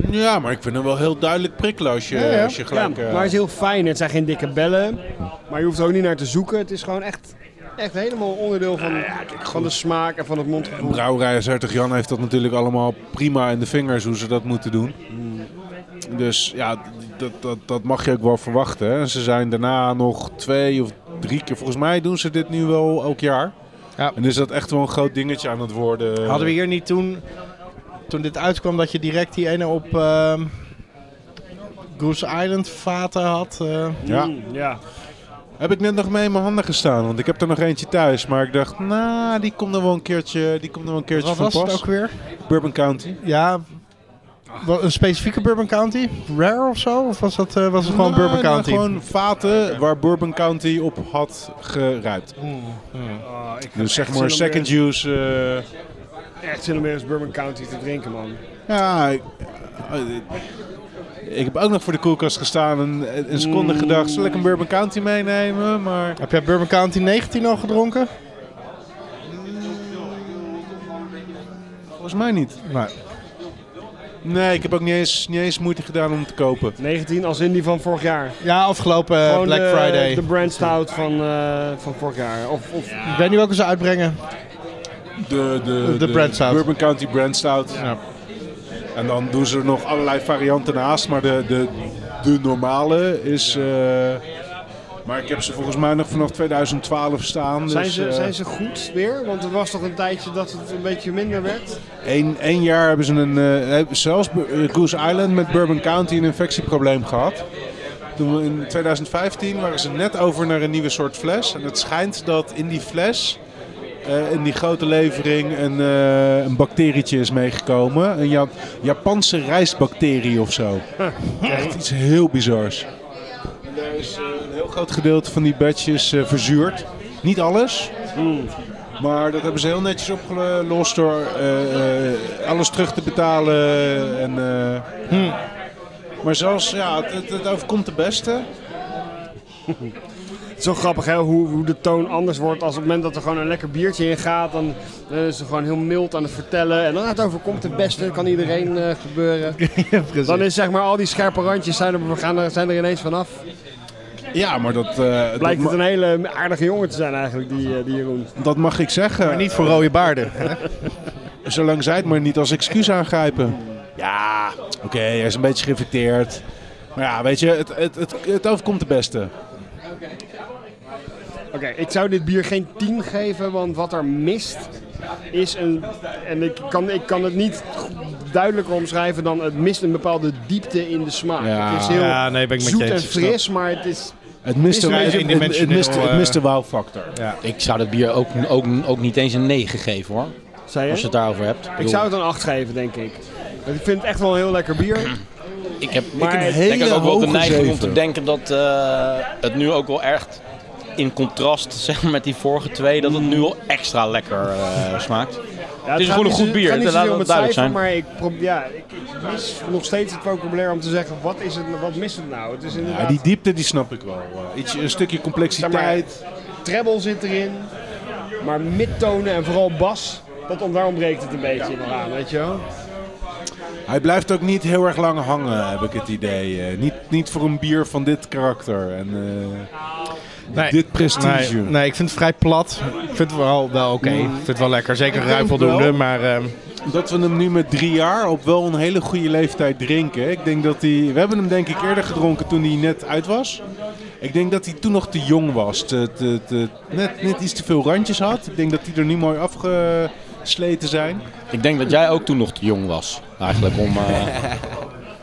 Speaker 5: Ja, maar ik vind hem wel heel duidelijk prikkelen als je,
Speaker 2: Ja, ja.
Speaker 5: Als je
Speaker 3: ja,
Speaker 5: gelijk...
Speaker 3: maar
Speaker 5: eh,
Speaker 3: het is heel fijn. Het zijn geen dikke bellen, maar je hoeft er ook niet naar te zoeken. Het is gewoon echt, echt helemaal onderdeel van, van de smaak en van het mondgevoel.
Speaker 5: Brouwerij Hertog Jan heeft dat natuurlijk allemaal prima in de vingers hoe ze dat moeten doen. Dus ja, d- dat, dat, dat mag je ook wel verwachten. Hè. En Ze zijn daarna nog twee of drie keer, volgens mij doen ze dit nu wel elk jaar.
Speaker 2: Ja.
Speaker 5: En is dat echt wel een groot dingetje aan het worden.
Speaker 2: Hadden we hier niet toen, toen dit uitkwam, dat je direct die ene op ehm, Goose Island vaten had? eh?
Speaker 5: Ja.
Speaker 3: Mm, ja.
Speaker 5: Heb ik net nog mee in mijn handen gestaan, want ik heb er nog eentje thuis. Maar ik dacht, nou, die komt er wel een keertje, die komt er wel een keertje
Speaker 2: wat
Speaker 5: van
Speaker 2: was het
Speaker 5: pas.
Speaker 2: ook weer?
Speaker 5: Bourbon County.
Speaker 2: Ja, wel een specifieke Bourbon County? Rare of zo? Of was, dat, eh, was het gewoon
Speaker 5: Nou,
Speaker 2: Bourbon
Speaker 5: nou,
Speaker 2: County?
Speaker 5: Gewoon vaten waar Bourbon County op had geruimd. Dus zeg maar
Speaker 3: Oh, echt zin om
Speaker 5: second juice. eh,
Speaker 3: Echt zin om weer eens Bourbon County te drinken, man.
Speaker 5: ja, ik, eh, ik heb ook nog voor de koelkast gestaan en een- een seconde gedacht, zal ik een Bourbon County meenemen? Maar
Speaker 2: Heb jij Bourbon County 19 al gedronken?
Speaker 5: volgens mij niet.
Speaker 2: Nee.
Speaker 5: Nee, ik heb ook niet eens, niet eens moeite gedaan om te kopen.
Speaker 3: 19 als in die van vorig jaar.
Speaker 2: Ja, afgelopen eh,
Speaker 3: Gewoon
Speaker 2: Black
Speaker 3: de-
Speaker 2: Friday.
Speaker 3: De brand stout van, eh, van vorig jaar. Of, of
Speaker 2: Ik weet niet welke ze uitbrengen.
Speaker 5: De, de,
Speaker 2: de brand stout.
Speaker 5: Bourbon County Brand Stout.
Speaker 2: Ja.
Speaker 5: En dan doen ze er nog allerlei varianten naast, maar de, de, de normale is... eh, maar ik heb ze volgens mij nog vanaf 2012 staan.
Speaker 3: zijn,
Speaker 5: dus,
Speaker 3: ze,
Speaker 5: eh,
Speaker 3: zijn ze goed weer? Want er was toch een tijdje dat het een beetje minder werd.
Speaker 5: Eén één jaar hebben ze een, eh, hebben zelfs Bu- eh, Goose Island met Bourbon County een infectieprobleem gehad. Toen we in 2015 waren ze net over naar een nieuwe soort fles. En het schijnt dat in die fles, eh, in die grote levering, een, eh, een bacterietje is meegekomen. Een Ja- Japanse rijstbacterie of zo. Echt iets heel bizars. En daar is eh, een heel groot gedeelte van die batches eh, verzuurd. Niet alles, maar dat hebben ze heel netjes opgelost door eh, eh, alles terug te betalen. En, eh, Maar zelfs, ja, het, het- het overkomt de beste.
Speaker 3: Het is wel grappig hè, hoe, hoe de toon anders wordt als op het moment dat er gewoon een lekker biertje in gaat. Dan eh, is ze gewoon heel mild aan het vertellen. En dan ah, het overkomt het beste, kan iedereen eh,
Speaker 5: [laughs]
Speaker 3: gebeuren. Dan is zeg maar al die scherpe randjes zijn er, we gaan er, zijn er ineens vanaf.
Speaker 5: Ja, maar dat, eh, dat,
Speaker 3: Blijkt het
Speaker 5: ma-
Speaker 3: een hele aardige jongen te zijn eigenlijk, die, eh, die Jeroen.
Speaker 5: dat mag ik zeggen.
Speaker 2: Maar niet voor rode baarden.
Speaker 5: [laughs] Zolang zij het maar niet als excuus aangrijpen. Ja, oké, hij is een beetje geïnfecteerd. Maar ja, weet je, het, het, het, het overkomt de beste.
Speaker 3: Oké, ik zou dit bier geen 10 geven, want wat er mist is een. En ik kan, ik kan het niet duidelijker omschrijven dan het mist een bepaalde diepte in de smaak.
Speaker 5: Ja.
Speaker 3: het is heel
Speaker 2: Ja, nee, ben ik met je
Speaker 3: zoet en
Speaker 2: eens, ik snap.
Speaker 3: fris, maar het is.
Speaker 5: Het mist de,
Speaker 2: een beetje
Speaker 5: het, het, het mist,
Speaker 2: indimensioneel,
Speaker 5: het
Speaker 2: eh.
Speaker 5: mist de wow-factor.
Speaker 1: Ik zou dat bier ook, ook, ook niet eens een 9 geven hoor.
Speaker 3: Zei
Speaker 1: Als je
Speaker 3: je?
Speaker 1: het daarover hebt.
Speaker 3: Ik
Speaker 1: bedoel,
Speaker 3: zou het een 8 geven, denk ik. Want ik vind het echt wel een heel lekker bier.
Speaker 1: ik heb
Speaker 3: Maar
Speaker 5: een
Speaker 1: denk ik ook wel de
Speaker 5: hoge
Speaker 1: neiging om
Speaker 5: zeven.
Speaker 1: te denken dat eh, het nu ook wel echt in contrast [laughs] zeg maar, met die vorige twee, dat het nu al extra lekker eh, smaakt.
Speaker 3: Ja,
Speaker 1: Het is
Speaker 3: gaat
Speaker 1: gewoon een
Speaker 3: niet
Speaker 1: goed
Speaker 3: zo-
Speaker 1: bier,
Speaker 3: het gaat niet
Speaker 1: dat laat
Speaker 3: zozeer om
Speaker 1: het
Speaker 3: het
Speaker 1: duidelijk zijn.
Speaker 3: cijfer, Maar ik, probeer, ja, ik, ik mis nog steeds het vocabulaire om te zeggen, wat is het, wat mist het nou? Het is inderdaad,
Speaker 5: Ja, die diepte die snap ik wel. Eh, iets, een stukje
Speaker 3: zeg maar,
Speaker 5: complexiteit.
Speaker 3: treble zit erin, maar midtonen en vooral bas, dat ont- daar ontbreekt het een beetje nog aan, weet je wel?
Speaker 5: Hij blijft ook niet heel erg lang hangen, heb ik het idee. Eh, niet, niet voor een bier van dit karakter en eh,
Speaker 2: Nee.
Speaker 5: dit prestige.
Speaker 2: Nee, nee, ik vind het vrij plat. Ik vind het wel, wel oké. Ik vind het wel lekker. Zeker
Speaker 5: denk
Speaker 2: ruiveldoende,
Speaker 5: wel.
Speaker 2: maar... ehm,
Speaker 5: Dat we hem nu met drie jaar op wel een hele goede leeftijd drinken. Ik denk dat hij. We hebben hem denk ik eerder gedronken toen hij net uit was. Ik denk dat hij toen nog te jong was. Te, te, te- net, net iets te veel randjes had. Ik denk dat die er nu mooi afgesleten zijn.
Speaker 1: Ik denk dat jij ook toen nog te jong was, eigenlijk, om... eh,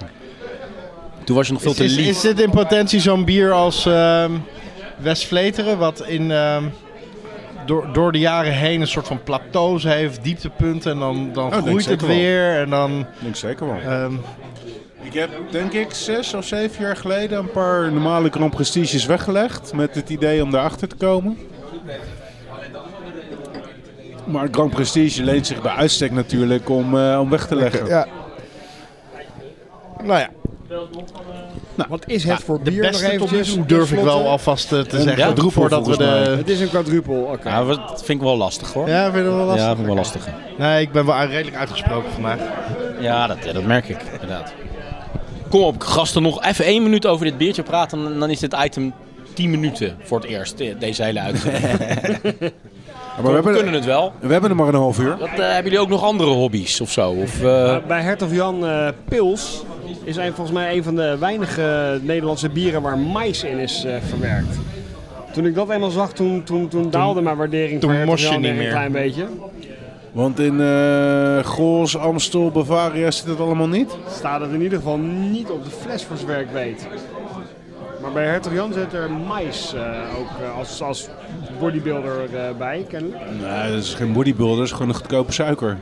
Speaker 1: [laughs] toen was je nog veel te
Speaker 2: is, is
Speaker 1: lief.
Speaker 2: dit in potentie zo'n bier als ehm West Vleteren, wat in, ehm, door, door de jaren heen een soort van plateaus heeft, dieptepunten en dan, dan
Speaker 5: denk
Speaker 2: groeit het
Speaker 5: zeker wel.
Speaker 2: weer en dan...
Speaker 5: Ik denk zeker wel.
Speaker 2: ehm,
Speaker 5: Ik heb denk ik zes of zeven jaar geleden een paar normale Grand Prestiges weggelegd. Met het idee om daarachter te komen. Maar Grand Prestige leent zich bij uitstek natuurlijk om, eh, om weg te leggen.
Speaker 2: ja. Nou ja,
Speaker 3: Wat is het voor
Speaker 2: Nou, de
Speaker 3: bier nog
Speaker 2: beste tot nu
Speaker 3: eventjes?
Speaker 2: toe durf ik wel eh,
Speaker 3: tenslotte?
Speaker 2: alvast eh, te zeggen.
Speaker 5: quadruple
Speaker 2: voordat we
Speaker 5: volgens
Speaker 2: de...
Speaker 3: Het is een quadruple, oké.
Speaker 1: Ja, Nou, dat vind ik wel lastig, hoor.
Speaker 2: Ja, vind je dat wel
Speaker 1: Ja,
Speaker 2: lastig?
Speaker 1: vind ik wel lastig.
Speaker 2: Nee, ik ben wel redelijk uitgesproken vandaag.
Speaker 1: Ja, dat, ja, dat merk ik, inderdaad. Kom op, gasten, nog even één minuut over dit biertje praten. En dan is dit item 10 minuten voor het eerst, eh, deze hele uitzending.
Speaker 5: Maar we
Speaker 1: We
Speaker 5: hebben,
Speaker 1: kunnen het wel.
Speaker 5: we hebben er maar een half uur.
Speaker 1: Dat, eh, hebben jullie ook nog andere hobby's of zo? Of, eh,
Speaker 3: Bij Hertog Jan eh, Pils is hij volgens mij een van de weinige Nederlandse bieren waar mais in is eh, verwerkt. Toen ik dat eenmaal zag, toen, toen, toen daalde mijn waardering
Speaker 2: toen
Speaker 3: voor Hertog
Speaker 2: mos je
Speaker 3: Jan
Speaker 2: niet
Speaker 3: weer
Speaker 2: meer.
Speaker 3: een klein beetje.
Speaker 5: Want in eh Gols, Amstel, Bavaria zit het allemaal niet.
Speaker 3: Staat het in ieder geval niet op de fles voor zover ik weet. Maar bij Hertog Jan zit er mais eh, ook eh, als, als bodybuilder eh, bij, kennelijk.
Speaker 5: Nee, dat is geen bodybuilder, dat is gewoon een goedkope suiker.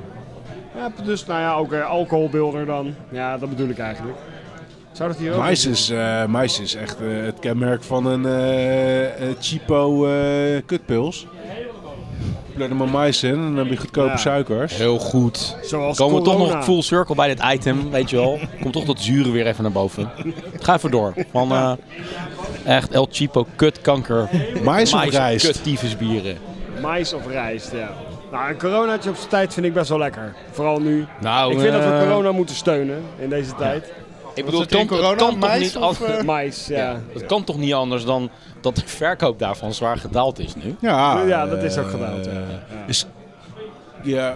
Speaker 3: Ja, dus nou ja, ook eh, alcoholbuilder dan. Ja, dat bedoel ik eigenlijk. Zou dat hier ook...
Speaker 5: Mais is, eh, mais is echt eh, het kenmerk van een eh, eh, cheapo eh kutpils. Pleur er maar mais in en dan heb je goedkope
Speaker 3: Ja.
Speaker 5: suikers.
Speaker 1: heel goed.
Speaker 3: Zoals
Speaker 1: Komen we toch
Speaker 3: corona.
Speaker 1: nog full circle bij dit item, weet je wel. Komt toch dat zure weer even naar boven. Ga even door. Van eh, echt El Chipo, kut, kanker,
Speaker 5: Mais of
Speaker 1: mais,
Speaker 5: rijst?
Speaker 1: kut, tyfusbieren.
Speaker 3: Mais of rijst, ja. Nou, een coronaatje op zijn tijd vind ik best wel lekker. Vooral nu.
Speaker 1: Nou,
Speaker 3: ik vind dat we
Speaker 1: eh,
Speaker 3: corona moeten steunen in deze tijd.
Speaker 1: Ik bedoel,
Speaker 2: zit
Speaker 1: het kan,
Speaker 2: in corona?
Speaker 1: het kan toch
Speaker 2: Mais
Speaker 1: niet
Speaker 2: of,
Speaker 1: anders.
Speaker 3: Mais, ja.
Speaker 1: [laughs] Het kan toch niet anders dan dat de verkoop daarvan zwaar gedaald is nu.
Speaker 5: Ja,
Speaker 3: Ja, dat is ook
Speaker 5: eh,
Speaker 3: gedaald, ja.
Speaker 5: Is, ja,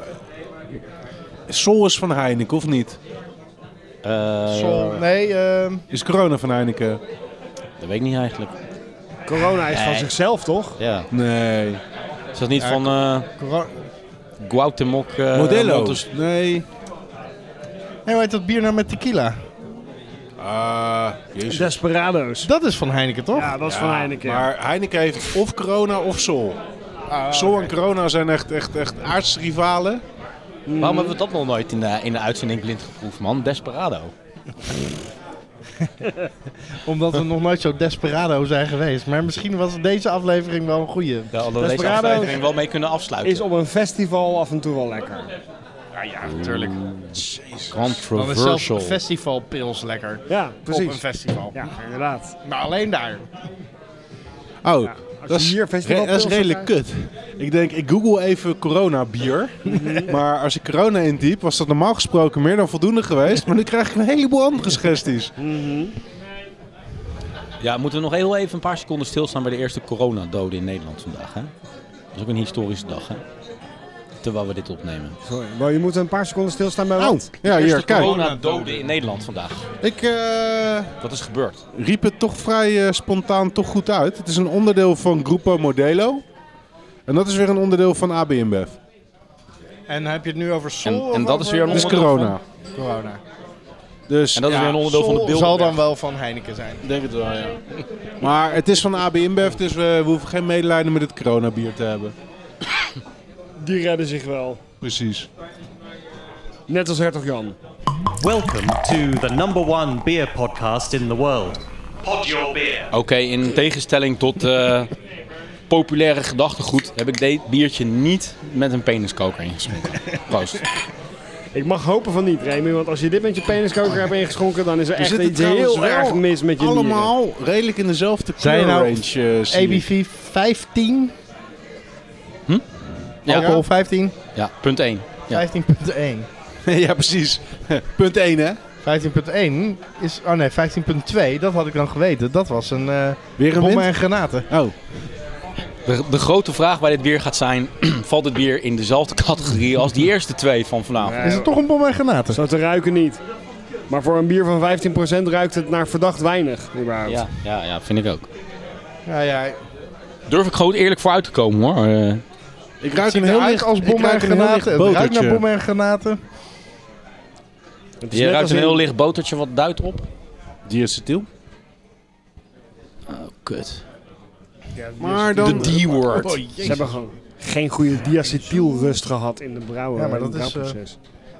Speaker 5: Sol is van Heineken, of niet?
Speaker 1: Eh,
Speaker 2: Sol, nee, ehm,
Speaker 5: Is corona van Heineken?
Speaker 1: Dat weet ik niet eigenlijk.
Speaker 3: Corona is van
Speaker 1: Nee.
Speaker 3: zichzelf, toch?
Speaker 1: Ja.
Speaker 5: Nee.
Speaker 1: Is dat niet van eh
Speaker 2: Coro-
Speaker 1: Guautemoc? eh,
Speaker 5: Modelo?
Speaker 1: Montes-
Speaker 5: nee.
Speaker 2: nee, hoe heet dat bier nou met tequila?
Speaker 5: Ah, jezus.
Speaker 3: Desperado's.
Speaker 2: Dat is van Heineken, toch?
Speaker 3: Ja, Ah, dat is van Heineken.
Speaker 5: Maar Heineken heeft of corona of Sol. Sol en corona zijn echt, echt, echt aardsrivalen.
Speaker 1: Waarom hebben we dat nog nooit in de, in de uitzending blind geproefd, man? Desperado.
Speaker 2: Omdat we nog nooit zo desperado zijn geweest. Maar misschien was deze aflevering wel een goede.
Speaker 1: Daar hadden we deze
Speaker 3: Desperado
Speaker 1: aflevering wel mee kunnen afsluiten.
Speaker 3: Is op een festival af en toe wel lekker.
Speaker 1: Mm,
Speaker 2: Dan is zelfs
Speaker 1: Controversial.
Speaker 2: festivalpils lekker.
Speaker 3: Ja,
Speaker 2: Op een
Speaker 3: precies.
Speaker 2: festival.
Speaker 3: Ja, inderdaad.
Speaker 2: Maar alleen daar.
Speaker 5: Oh,
Speaker 3: Als
Speaker 5: dat,
Speaker 3: je
Speaker 5: is,
Speaker 3: hier festival
Speaker 5: re- dat is redelijk
Speaker 3: eh.
Speaker 5: kut. Ik denk, ik google even corona bier. maar als ik corona intyp, was dat normaal gesproken meer dan voldoende geweest. Maar nu krijg ik een heleboel andere suggesties.
Speaker 1: Ja, moeten we nog heel even een paar seconden stilstaan bij de eerste coronadoden in Nederland vandaag, hè? Dat is ook een historische dag, hè? Terwijl we dit opnemen.
Speaker 3: Maar je moet een paar seconden stilstaan bij
Speaker 5: Oh,
Speaker 3: wat?
Speaker 5: ja,
Speaker 1: eerste
Speaker 5: hier, kijk.
Speaker 1: coronadoden in Nederland vandaag.
Speaker 5: Ik eh,
Speaker 1: Wat is gebeurd?
Speaker 5: riep het toch vrij eh, spontaan toch goed uit. Het is een onderdeel van Grupo Modelo. En dat is weer een onderdeel van AB InBev.
Speaker 2: En heb je het nu over Sol?
Speaker 1: En-
Speaker 2: of
Speaker 1: en dat is
Speaker 2: over
Speaker 1: weer een
Speaker 5: Het is
Speaker 1: onderdeel
Speaker 5: corona.
Speaker 2: corona.
Speaker 5: Dus,
Speaker 1: En dat is
Speaker 5: ja,
Speaker 1: weer een onderdeel van de
Speaker 2: Sol
Speaker 1: beeld.
Speaker 2: zal dan wel van Heineken zijn.
Speaker 5: denk het wel, ja. [laughs] Maar het is van AB InBev, dus we, we hoeven geen medelijden met het coronabier te hebben.
Speaker 3: Die redden zich wel.
Speaker 5: Precies.
Speaker 3: Net als Hertog Jan.
Speaker 4: Welcome to the number one beer podcast in the world. Pod Your Beer.
Speaker 1: Oké, in tegenstelling tot eh, populaire gedachtegoed heb ik dit biertje niet met een peniskoker ingeschonken. Proost.
Speaker 3: Ik mag hopen van niet, Remy, want als je dit met je peniskoker hebt ingeschonken, dan is er echt
Speaker 5: zitten
Speaker 3: iets heel
Speaker 5: trouwens
Speaker 3: erg
Speaker 5: wel
Speaker 3: mis met
Speaker 1: eh,
Speaker 3: je nieren.
Speaker 5: Allemaal redelijk in dezelfde
Speaker 2: Zijn je nou
Speaker 5: kleurrange. eh, zie ik.
Speaker 2: EBV 15,
Speaker 1: Ja,
Speaker 2: alcohol 15,
Speaker 1: ja punt 1. Ja.
Speaker 2: 15.1.
Speaker 5: [laughs] ja, precies. Punt 1, hè?
Speaker 2: 15.1 is, oh nee, 15.2, dat had ik dan geweten. Dat was een eh
Speaker 5: Weer een
Speaker 2: bommen
Speaker 5: wind?
Speaker 2: en granaten.
Speaker 5: Oh.
Speaker 1: De, de grote vraag bij dit bier gaat zijn, [clears throat] valt dit bier in dezelfde categorie als die eerste twee van vanavond?
Speaker 2: Is het toch een bommen en granaten?
Speaker 3: Zo te ruiken niet. Maar voor een bier van 15% ruikt het naar verdacht weinig. überhaupt.
Speaker 1: Ja, ja, ja vind ik ook.
Speaker 2: Ja, ja. Het
Speaker 1: Durf ik gewoon eerlijk voor uit te komen hoor. Eh,
Speaker 5: Ik ruik
Speaker 2: ziet
Speaker 5: een heel
Speaker 2: eruit
Speaker 5: licht
Speaker 2: als
Speaker 5: ik
Speaker 2: bommen en
Speaker 5: ruik een heel licht
Speaker 2: granaten. Het ruikt naar
Speaker 5: botertje.
Speaker 2: bommen en granaten.
Speaker 3: Het is
Speaker 1: je
Speaker 3: net
Speaker 1: ruikt
Speaker 3: als
Speaker 1: een
Speaker 3: in-
Speaker 1: heel licht botertje wat duidt op.
Speaker 5: Diacetyl.
Speaker 1: Oh, kut. De
Speaker 5: Maar dan...
Speaker 1: D-word.
Speaker 3: Ze hebben gewoon geen goede diacetylrust gehad in de brouwen.
Speaker 2: Ja, maar
Speaker 3: in het
Speaker 2: dat is, eh,
Speaker 3: brouwproces.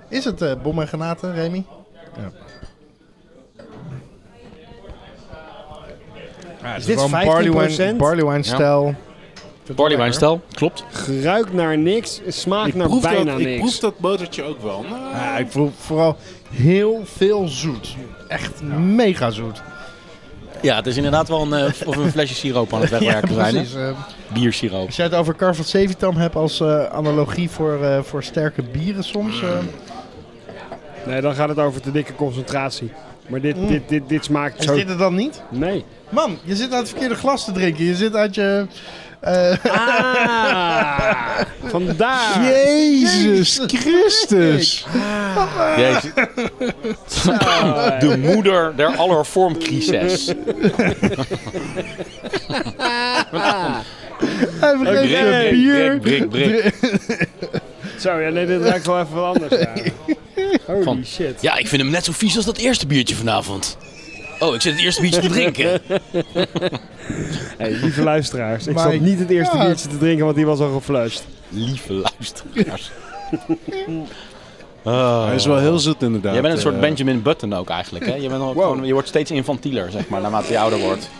Speaker 2: Is het eh bommen en granaten, Remy?
Speaker 3: is
Speaker 2: Het
Speaker 3: dit
Speaker 2: wel een barley wine-
Speaker 3: 15%
Speaker 2: Barley wine stijl.
Speaker 1: Barley wine stijl, klopt.
Speaker 3: ruikt naar niks, smaakt
Speaker 5: Ik
Speaker 3: naar
Speaker 5: proef,
Speaker 3: nou bijna
Speaker 5: dat,
Speaker 3: niks.
Speaker 5: ik proef dat botertje ook wel. Nou,
Speaker 2: Ja, ik voel vooral heel veel zoet. Echt mega zoet.
Speaker 1: Ja, het is inderdaad wel een, eh, of een flesje siroop [laughs] aan het wegwerken zijn. hè?
Speaker 2: precies. eh.
Speaker 1: Biersiroop.
Speaker 2: als jij het over Carvat Sevitam hebt als eh, analogie voor, eh, voor sterke bieren soms. eh,
Speaker 5: Mm.
Speaker 3: Nee, dan gaat het over te dikke concentratie. Maar dit, dit, dit, dit smaakt
Speaker 2: Mm. is
Speaker 3: zo...
Speaker 2: dit het dan niet?
Speaker 3: Nee.
Speaker 2: Man, je zit uit het verkeerde glas te drinken. Je zit uit je... eh, [laughs]
Speaker 3: Ah, vandaar.
Speaker 5: Ah. Jezus Christus.
Speaker 1: Jezus. De moeder der aller vormcrisis.
Speaker 2: hij vergeet
Speaker 1: Brik,
Speaker 2: zijn
Speaker 1: brik,
Speaker 2: bier.
Speaker 1: brik, brik.
Speaker 3: Zo, ja, nee, dit ruikt wel even wat anders. Ja.
Speaker 2: [laughs]
Speaker 3: Holy
Speaker 1: Van-
Speaker 3: shit.
Speaker 1: Ja, ik vind hem net zo vies als dat eerste biertje vanavond. Oh, ik zit het eerste biertje te drinken.
Speaker 3: Hey, lieve luisteraars, ik
Speaker 2: Maar
Speaker 3: zat
Speaker 2: ik-
Speaker 3: niet het eerste
Speaker 2: ja.
Speaker 3: biertje te drinken, want die was al geflushed.
Speaker 1: Lieve luisteraars.
Speaker 5: Hij is wel heel zoet inderdaad.
Speaker 1: Jij bent een soort
Speaker 5: Eh,
Speaker 1: Benjamin Button ook eigenlijk, hè? Je, bent al gewoon, je wordt steeds infantieler, zeg maar, naarmate je ouder wordt.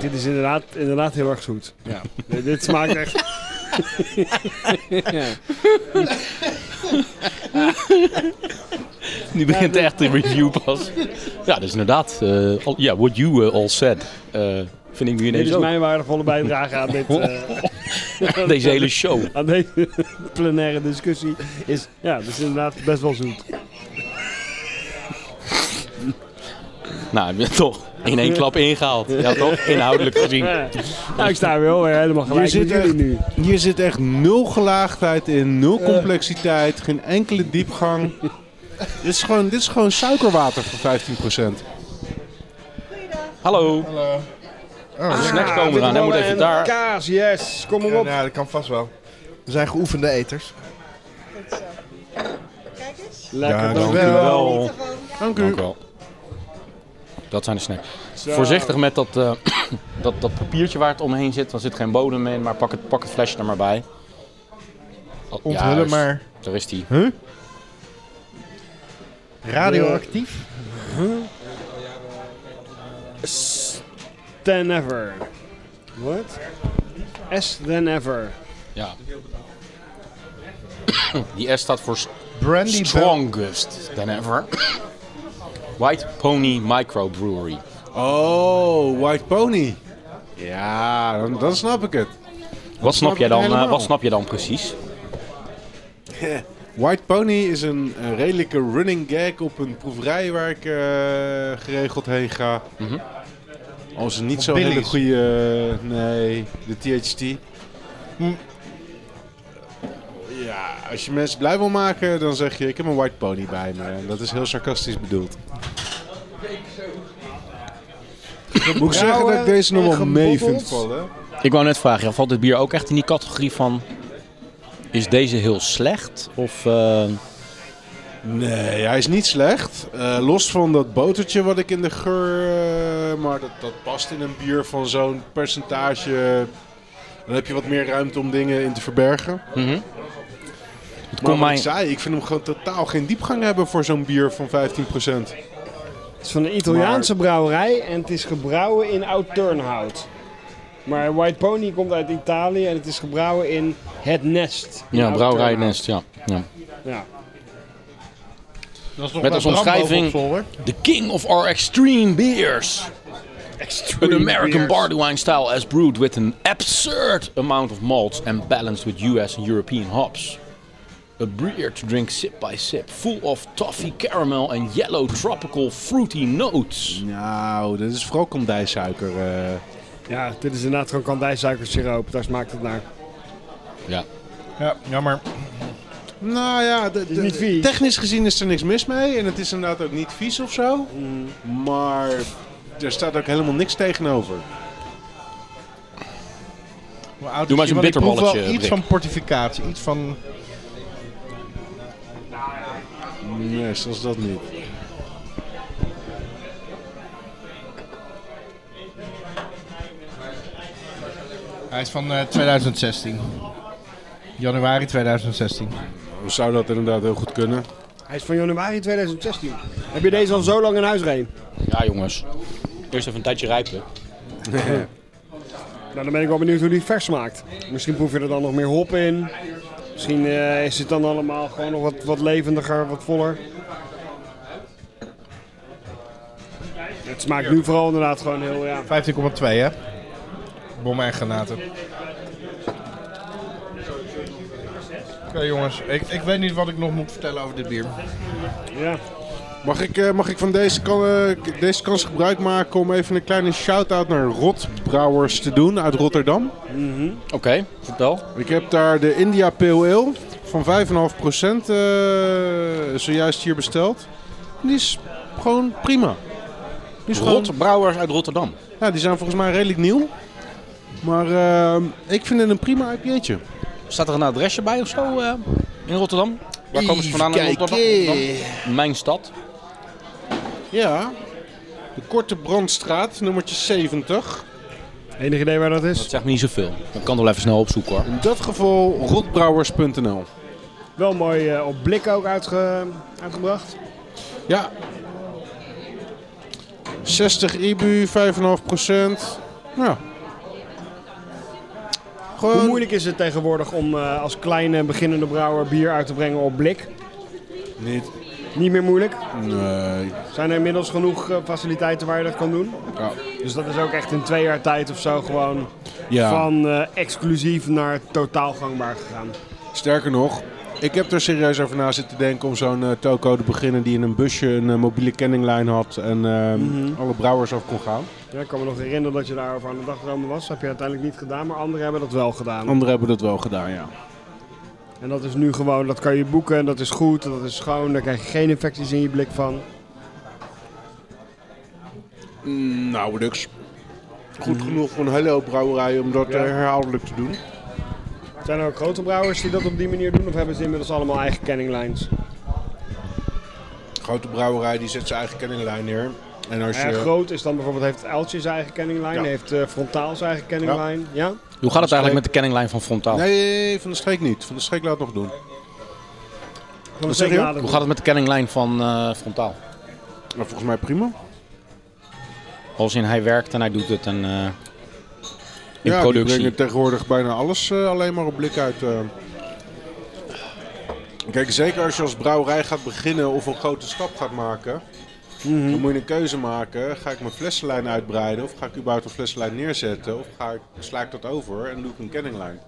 Speaker 3: Dit is inderdaad, inderdaad heel erg zoet. Ja. Nee, dit smaakt echt...
Speaker 1: Nu begint echt de review pas. Ja, dus inderdaad. eh, al- Ja, what you eh, all said. eh, vind ik nu
Speaker 3: Dit
Speaker 1: ineens
Speaker 3: is
Speaker 1: ook.
Speaker 3: mijn waardevolle bijdrage aan, dit, eh, [laughs]
Speaker 1: Deze hele show.
Speaker 3: aan deze [laughs] plenaire discussie. Is, ja, dus inderdaad best wel zoet.
Speaker 1: Nou, heb je het toch in één klap ingehaald. Ja, toch? Inhoudelijk gezien.
Speaker 3: Ja. Nou, ik sta weer wel weer helemaal
Speaker 5: Hier
Speaker 3: gelijk met
Speaker 5: zit,
Speaker 3: jullie
Speaker 5: echt,
Speaker 3: nu.
Speaker 5: hier zit echt nul gelaagdheid in, nul complexiteit, geen enkele diepgang. [laughs] dit, is gewoon, dit is gewoon suikerwater voor 15%.
Speaker 1: Hallo.
Speaker 2: Oh,
Speaker 1: De
Speaker 2: ja.
Speaker 1: snacks komen eraan. Hij moet even daar.
Speaker 3: Kaas, yes. Kom maar
Speaker 2: Ja,
Speaker 3: op.
Speaker 2: nou, dat kan vast wel. We zijn geoefende eters.
Speaker 6: Goed zo. Kijk eens.
Speaker 5: Ja,
Speaker 3: Lekker
Speaker 5: dank
Speaker 3: dan.
Speaker 5: u wel.
Speaker 6: Gewoon, ja.
Speaker 5: Dank
Speaker 1: Dank
Speaker 5: u.
Speaker 1: u wel. Dat zijn de snacks. Voorzichtig met dat, eh, [coughs] dat, dat papiertje waar het omheen zit. Dan zit geen bodem in, maar pak het, pak het flesje er maar bij. Oh,
Speaker 2: Onthullen
Speaker 1: juist.
Speaker 2: maar.
Speaker 1: Daar is die.
Speaker 2: Radioactief.
Speaker 3: Than ever. What? S than ever.
Speaker 1: Ja. [coughs] Die S staat voor
Speaker 2: Brandy Bell.
Speaker 1: strongest than ever. [coughs] White Pony Microbrewery.
Speaker 5: Oh, White Pony. Ja, dan, dan snap ik het.
Speaker 1: Wat snap,
Speaker 5: ik
Speaker 1: jij dan, eh,
Speaker 5: helemaal.
Speaker 1: wat snap je dan precies?
Speaker 5: White Pony is een eh, redelijke running gag op een proeverij waar ik eh, geregeld heen ga. Als een niet zo hele
Speaker 2: Billy's.
Speaker 5: goede. nee, de THT. Hm. Ja, als je mensen blij wil maken, dan zeg je: Ik heb een White Pony bij me. En dat is heel sarcastisch bedoeld. Moet ik zeggen dat ik deze nog wel mee vind vallen?
Speaker 1: Ik wou net vragen, ja, valt dit bier ook echt in die categorie van... Is deze heel slecht? Of... eh,
Speaker 5: Nee, hij is niet slecht. Eh, los van dat botertje wat ik in de geur. eh, maar dat, dat past in een bier van zo'n percentage. Dan heb je wat meer ruimte om dingen in te verbergen.
Speaker 1: het
Speaker 5: Maar
Speaker 1: kon
Speaker 5: wat ik
Speaker 1: mij,
Speaker 5: zei, ik vind hem gewoon totaal geen diepgang hebben voor zo'n bier van 15%.
Speaker 3: Het is van een Italiaanse brouwerij en het is gebrouwen in oud turnhout. Maar White Pony komt uit Italië en het is gebrouwen in het nest. in
Speaker 1: Ja,
Speaker 3: Oud
Speaker 1: brouwerij
Speaker 3: Turnhout.
Speaker 1: Nest, ja. ja.
Speaker 3: Ja.
Speaker 2: Dat is
Speaker 1: Met
Speaker 2: nog wel
Speaker 1: als
Speaker 2: Bram
Speaker 1: omschrijving-
Speaker 2: bovenop zolder.
Speaker 1: The king of our extreme beers. An American barley wine style as brewed with an absurd amount of malts and balanced with US and European hops. A beer to drink sip by sip, full of toffee, caramel and yellow tropical fruity notes.
Speaker 5: Nou, dat is vooral kandijsuiker. eh.
Speaker 3: ja, dit is inderdaad gewoon kandijsuikersiroop. Daar smaakt het naar.
Speaker 1: Ja.
Speaker 2: Ja, jammer.
Speaker 5: Nou ja, de-
Speaker 3: is
Speaker 5: de-
Speaker 3: niet vies.
Speaker 5: technisch gezien is er niks mis mee. En het is inderdaad ook niet vies of zo.
Speaker 3: Mm.
Speaker 5: Maar er staat ook helemaal niks tegenover.
Speaker 2: Hoe oud
Speaker 1: Doe maar eens
Speaker 2: is hij?
Speaker 1: een
Speaker 2: Want ik proef wel
Speaker 1: bitterballetje,
Speaker 2: Iets
Speaker 1: Brik.
Speaker 2: van portificatie, iets van...
Speaker 5: Nee, zelfs dat niet.
Speaker 2: Hij is van eh, 2016. Januari 2016.
Speaker 5: Zou dat inderdaad heel goed kunnen.
Speaker 3: Hij is van januari 2016. Heb je deze al zo lang in huis reen?
Speaker 1: Ja jongens. Eerst even een tijdje rijpen.
Speaker 3: Nou, dan ben ik wel benieuwd hoe die vers smaakt. Misschien proef je er dan nog meer hop in. Misschien eh, is het dan allemaal gewoon nog wat, wat levendiger, wat voller. Het smaakt nu vooral inderdaad gewoon heel, ja.
Speaker 2: 15,2 hè? Bommen en granaten. Oké jongens, ik, ik weet niet wat ik nog moet vertellen over dit bier.
Speaker 3: ja.
Speaker 5: Mag ik, eh, mag ik van deze, kan, eh, deze kans gebruik maken om even een kleine shout-out naar Rotbrouwers te doen uit Rotterdam?
Speaker 1: Oké, vertel.
Speaker 5: Ik heb daar de India Pale Ale van 5,5% eh, zojuist hier besteld. En Die is gewoon prima. Die is gewoon,
Speaker 1: Rot Brouwers uit Rotterdam.
Speaker 5: ja, die zijn volgens mij redelijk nieuw. Maar eh, ik vind het een prima IPA'tje.
Speaker 1: Staat er een adresje bij of zo eh, in Rotterdam? Waar komen ze vandaan in Rotterdam?
Speaker 5: eh.
Speaker 1: Rotterdam? Mijn stad.
Speaker 5: Ja. De Korte Brandstraat, nummertje 70.
Speaker 3: Enig idee waar dat is?
Speaker 1: Dat zegt me niet zoveel. Ik kan het wel even snel opzoeken hoor.
Speaker 5: In dat geval rotbrouwers.nl.
Speaker 3: Wel mooi eh, op blik ook uitge- uitgebracht.
Speaker 5: Ja. 60 IBU, 5,5 Ja.
Speaker 3: Hoe
Speaker 5: Gewoon...
Speaker 3: moeilijk is het tegenwoordig om eh, als kleine beginnende brouwer bier uit te brengen op blik?
Speaker 5: Niet.
Speaker 3: Niet meer moeilijk.
Speaker 5: Nee.
Speaker 3: Zijn er inmiddels genoeg eh, faciliteiten waar je dat kan doen?
Speaker 5: Ja.
Speaker 3: Dus dat is ook echt in twee jaar tijd of zo gewoon
Speaker 5: Ja.
Speaker 3: van eh, exclusief naar totaal gangbaar gegaan.
Speaker 5: Sterker nog, ik heb er serieus over na zitten denken om zo'n eh, toko te beginnen die in een busje een eh, mobiele kenninglijn had en eh, alle brouwers af kon gaan.
Speaker 3: Ja, ik kan me nog herinneren dat je daarover aan de dag gekomen was. Dat heb je uiteindelijk niet gedaan, maar anderen hebben dat wel gedaan.
Speaker 5: Anderen hebben dat wel gedaan, ja.
Speaker 3: En dat is nu gewoon, dat kan je boeken en dat is goed, dat is schoon, daar krijg je geen infecties in je blik van.
Speaker 5: Nauwelijks. Goed genoeg voor een hele hoop brouwerijen om dat
Speaker 3: Ja.
Speaker 5: eh, herhaaldelijk te doen.
Speaker 3: Zijn er ook grote brouwers die dat op die manier doen of hebben ze inmiddels allemaal eigen kenninglines?
Speaker 5: grote brouwerij die zet zijn eigen kenninglijn neer. En als je,
Speaker 3: Ja, groot is dan bijvoorbeeld, heeft Eltje zijn eigen kenninglijn,
Speaker 5: Ja.
Speaker 3: heeft eh, Frontaal zijn eigen kenninglijn. Ja.
Speaker 1: Hoe gaat het eigenlijk met de kenninglijn van Frontaal?
Speaker 5: Nee, van de streek niet. Van de streek laat het nog doen.
Speaker 3: Gaan we
Speaker 5: zeg
Speaker 3: zeker
Speaker 5: je?
Speaker 3: nadenken.
Speaker 1: Hoe gaat het met de kenninglijn van eh, Frontaal?
Speaker 5: Maar volgens mij prima.
Speaker 1: Als in hij werkt en hij doet het en eh, in
Speaker 5: ja, die
Speaker 1: productie.
Speaker 5: brengen tegenwoordig bijna alles eh, alleen maar op blik uit. eh. Kijk, zeker als je als brouwerij gaat beginnen of een grote stap gaat maken. Dan moet je een keuze maken. Ga ik mijn flessenlijn uitbreiden of ga ik überhaupt een flessenlijn neerzetten? Of ga ik, sla ik dat over en doe ik een kenninglijn?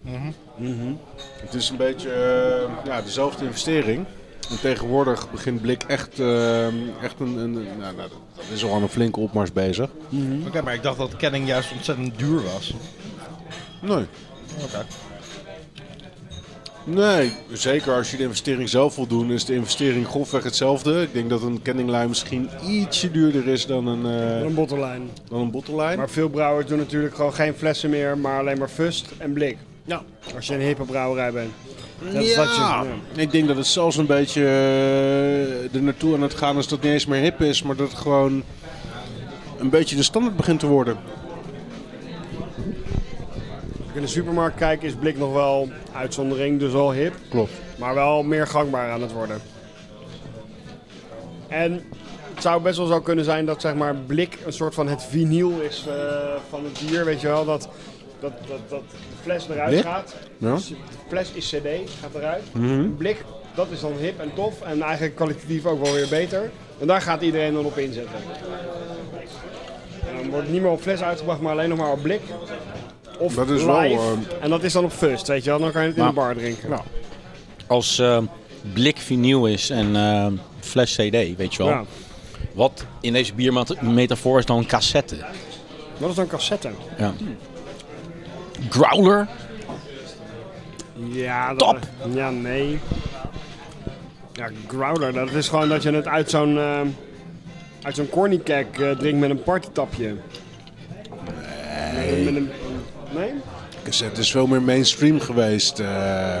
Speaker 5: Mhm. Het is een beetje eh, ja, dezelfde investering. En tegenwoordig begint Blik echt, eh, echt een, een, een- nou, nou, dat is al aan een flinke opmars bezig.
Speaker 2: Oké, maar ik dacht dat kenning juist ontzettend duur was.
Speaker 5: Nee.
Speaker 2: Oké.
Speaker 5: Nee, zeker als je de investering zelf wil doen, is de investering grofweg hetzelfde. Ik denk dat een kenninglijn misschien ietsje duurder is dan een, eh
Speaker 3: Een bottellijn.
Speaker 5: dan een bottellijn.
Speaker 3: Maar veel brouwers doen natuurlijk gewoon geen flessen meer, maar alleen maar fust en blik.
Speaker 5: Ja.
Speaker 3: Als je een hippe brouwerij bent. Dat is wat je-
Speaker 5: Ja, ik denk dat het zelfs een beetje eh, er naartoe aan het gaan is dat het niet eens meer hip is, maar dat het gewoon een beetje de standaard begint te worden.
Speaker 3: Als ik in de supermarkt kijk, is blik nog wel uitzondering, dus wel hip.
Speaker 5: Klopt.
Speaker 3: Maar wel meer gangbaar aan het worden. En Het zou best wel zo kunnen zijn dat zeg maar, blik een soort van het vinyl is eh, van het bier. Weet je wel, dat, dat, dat, dat de fles eruit
Speaker 5: Blik?
Speaker 3: gaat.
Speaker 5: Ja. Mhm.
Speaker 3: Dus de fles is cd, gaat eruit. Blik, dat is dan hip en tof en eigenlijk kwalitatief ook wel weer beter. En daar gaat iedereen dan op inzetten. En dan wordt niet meer op fles uitgebracht, maar alleen nog maar op blik. Of
Speaker 5: Dat is
Speaker 3: live.
Speaker 5: wel, eh,
Speaker 3: En dat is dan op first, weet je wel. Dan kan je het in
Speaker 5: Maar-
Speaker 3: de bar drinken.
Speaker 5: Nou,
Speaker 1: Als eh, blik vinyl is en eh, fles CD, weet je wel.
Speaker 3: Ja.
Speaker 1: Wat in deze biermetafoor is dan een cassette?
Speaker 3: Wat is dan cassette?
Speaker 1: Ja. Growler?
Speaker 3: Ja, dat-
Speaker 1: Top.
Speaker 3: Ja, nee. Ja, growler, dat is gewoon dat je het uit zo'n eh, uit zo'n corny keg eh, drinkt met een partytapje. Nee. Met een, nee?
Speaker 5: cassette Dus is veel meer mainstream geweest. eh.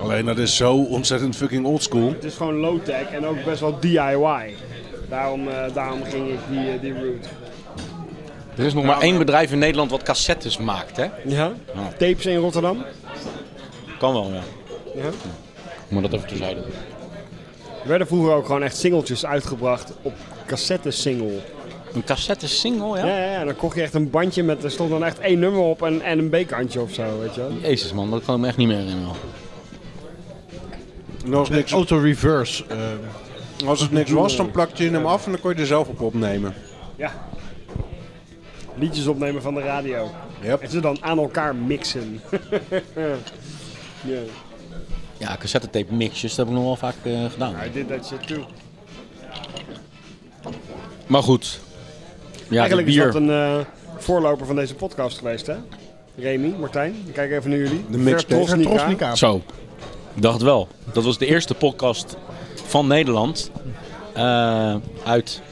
Speaker 5: alleen dat is zo ontzettend fucking oldschool.
Speaker 3: Het is gewoon low-tech en ook best wel DIY. Daarom, eh, daarom ging ik die, eh, die route.
Speaker 1: Er is nog maar één bedrijf in Nederland wat cassettes maakt, hè?
Speaker 3: Ja? Tapes in Rotterdam?
Speaker 1: Kan wel, ja.
Speaker 3: Ja.
Speaker 1: Maar dat even terzijde.
Speaker 3: Er werden vroeger ook gewoon echt singeltjes uitgebracht op cassette-single.
Speaker 1: Een cassette single, ja?
Speaker 3: Ja, ja, ja. Dan kocht je echt een bandje met, er stond dan echt één nummer op en, en een bekantje of zo, weet je wel.
Speaker 1: Jezus man, dat kan ik me echt niet meer herinneren.
Speaker 5: En als, niks,
Speaker 2: Auto-reverse. eh,
Speaker 5: als het niks was, dan plakte je hem af en dan kon je er zelf op opnemen.
Speaker 3: Ja. Liedjes opnemen van de radio.
Speaker 5: Yep.
Speaker 3: En ze dan aan elkaar mixen. [laughs] ja.
Speaker 1: Ja, cassettetape mixjes, dat heb ik nog wel vaak eh, gedaan.
Speaker 3: I did that shit too.
Speaker 1: Maar goed. Ja,
Speaker 3: Eigenlijk
Speaker 1: de
Speaker 3: is
Speaker 1: bier.
Speaker 3: dat een eh, voorloper van deze podcast geweest, hè? Remy, Martijn, ik kijk even naar jullie.
Speaker 5: De mixtape.
Speaker 3: Vertrosnica.
Speaker 2: Trosnica.
Speaker 1: Zo, ik dacht wel. Dat was de eerste podcast van Nederland. Eh, uit,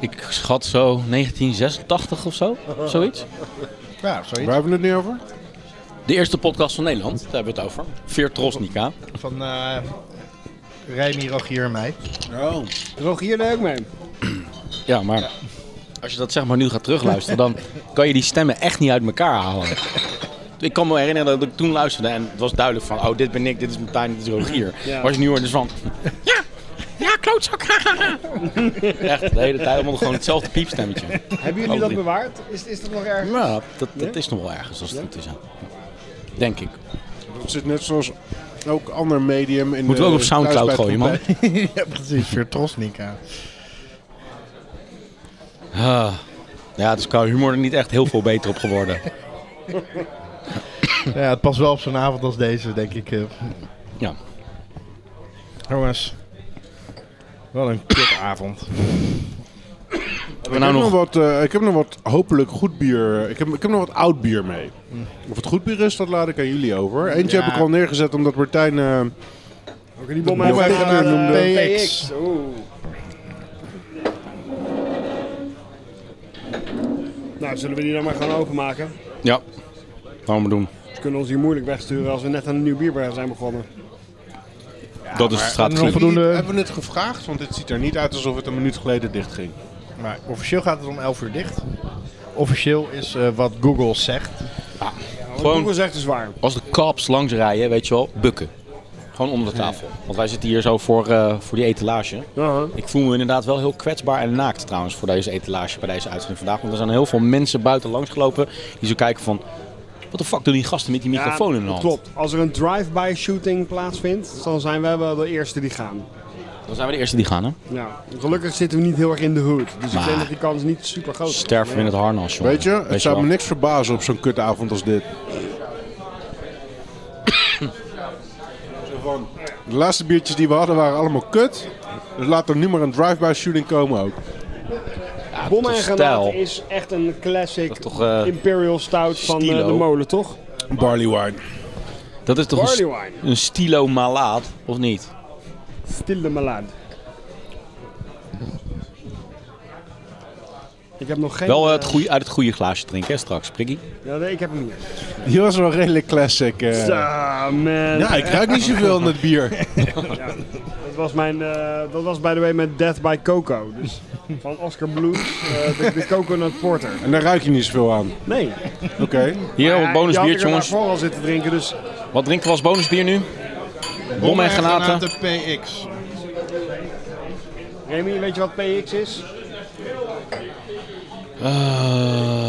Speaker 1: ik schat zo 1986 of
Speaker 3: [laughs]
Speaker 1: zo, zoiets.
Speaker 2: Ja, zoiets.
Speaker 5: Waar hebben we het nu over?
Speaker 1: De eerste podcast van Nederland, daar hebben we het over. Veertrosnica.
Speaker 2: Van eh Remy, Rogier en mij.
Speaker 5: Oh.
Speaker 3: Rogier deed ook mee.
Speaker 1: Ja, maar als je dat zeg maar nu gaat terugluisteren, dan kan je die stemmen echt niet uit elkaar halen. Ik kan me herinneren dat ik toen luisterde en het was duidelijk van, oh dit ben ik, dit is Martijn, dit is Rogier.
Speaker 3: Ja.
Speaker 1: Maar als je nu hoort, is van, ja, ja klootzak. [laughs] echt, de hele tijd allemaal gewoon hetzelfde piepstemmetje.
Speaker 3: Hebben jullie dat
Speaker 1: drie.
Speaker 3: bewaard? Is, is dat nog erg?
Speaker 1: Nou, dat, dat is nog wel ergens als het goed is. ja. Denk ik.
Speaker 5: Het zit net zoals ook ander medium in
Speaker 1: Moeten we ook op Soundcloud gooien, man.
Speaker 2: [laughs] ja, precies. Vertrosnica.
Speaker 1: Ah. Ja, het is qua humor er niet echt heel veel beter op geworden.
Speaker 2: [laughs] Ja, het past wel op zo'n avond als deze, denk ik. eh.
Speaker 1: Ja.
Speaker 2: Jongens. Wel een kutavond.
Speaker 1: [laughs] Hebben we
Speaker 5: Ik,
Speaker 1: nou
Speaker 5: heb nog...
Speaker 1: nog...
Speaker 5: wat, eh, ik heb nog wat hopelijk goed bier. eh, Ik heb, ik heb nog wat oud bier mee. Of het goed bier is, dat laat ik aan jullie over. Eentje
Speaker 2: Ja.
Speaker 5: heb ik al neergezet omdat Martijn... eh,
Speaker 3: Ook die bom
Speaker 5: bom
Speaker 3: uitgegaan naar
Speaker 2: uitgegaan
Speaker 3: de
Speaker 2: noemde.
Speaker 3: PX. eh, Oeh. Nou, zullen we die dan maar gaan openmaken?
Speaker 1: Ja. Laten we maar doen.
Speaker 3: Ze kunnen ons hier moeilijk wegsturen als we net aan een nieuw bierbar zijn begonnen.
Speaker 1: dat is de strategie.
Speaker 5: hebben,
Speaker 2: voldoende-
Speaker 5: jullie- hebben we het gevraagd? Want het ziet er niet uit alsof het een minuut geleden dicht ging.
Speaker 2: Maar officieel gaat het om 11 uur dicht. Officieel is eh, wat Google zegt.
Speaker 1: Gewoon-
Speaker 3: Google zegt is waar.
Speaker 1: Als de cops langs rijden, weet je wel, bukken. Gewoon onder de tafel. Want wij zitten hier zo voor, eh, voor die etalage. Ik voel me inderdaad wel heel kwetsbaar en naakt trouwens voor deze etalage bij deze uitzending vandaag. Want er zijn heel veel mensen buiten langs gelopen die zo kijken van... Wat de fuck doen die gasten met die microfoon in hun hand?
Speaker 3: Klopt. Als er een drive-by shooting plaatsvindt, dan zijn wij wel de eerste die gaan.
Speaker 1: Dan zijn we de eerste die gaan, hè?
Speaker 3: Nou, gelukkig zitten we niet heel erg in de hood. Dus ik
Speaker 1: Maar-
Speaker 3: denk dat die kans niet super groot is.
Speaker 1: Sterven we in het harnas, jongen.
Speaker 5: Weet je, het zou
Speaker 1: wel.
Speaker 5: me niks verbazen op zo'n kutavond als dit. Zo van, de laatste biertjes die we hadden waren allemaal kut. Dus laat er nu maar een drive-by shooting komen ook.
Speaker 1: Ja,
Speaker 3: Bom
Speaker 1: tot
Speaker 3: en
Speaker 1: stijl.
Speaker 3: granaat is echt een classic
Speaker 1: Dat is toch, eh,
Speaker 3: Imperial Stout van eh,
Speaker 1: stilo.
Speaker 3: de molen, toch?
Speaker 5: Barley wine.
Speaker 1: Dat is toch een,
Speaker 3: Barley
Speaker 1: st-
Speaker 3: wine.
Speaker 1: een stilo malaat, of niet?
Speaker 3: Stil de malade. Ik heb nog geen...
Speaker 1: Wel eh,
Speaker 3: eh,
Speaker 1: het goeie, uit het goede glaasje drinken, hè, straks, prikkie.
Speaker 3: Ja, nee, ik heb hem niet.
Speaker 5: Die was wel redelijk classic. eh.
Speaker 3: Zo, man.
Speaker 5: Ja, ik ruik niet zoveel aan het bier.
Speaker 3: Dat was, mijn, eh, dat was by the way met Death by Coco. Dus van Oscar Blues, eh, de, de Coconut Porter.
Speaker 5: En daar ruik je niet zoveel aan.
Speaker 3: Nee.
Speaker 5: Oké.
Speaker 1: Hier,
Speaker 3: Ja,
Speaker 1: een bonusbiertje, jongens.
Speaker 3: Ik had er al zitten drinken, dus
Speaker 1: Wat drinken we als bonusbier nu? Bom en granaten.
Speaker 2: PX.
Speaker 3: Remy, weet je wat PX is?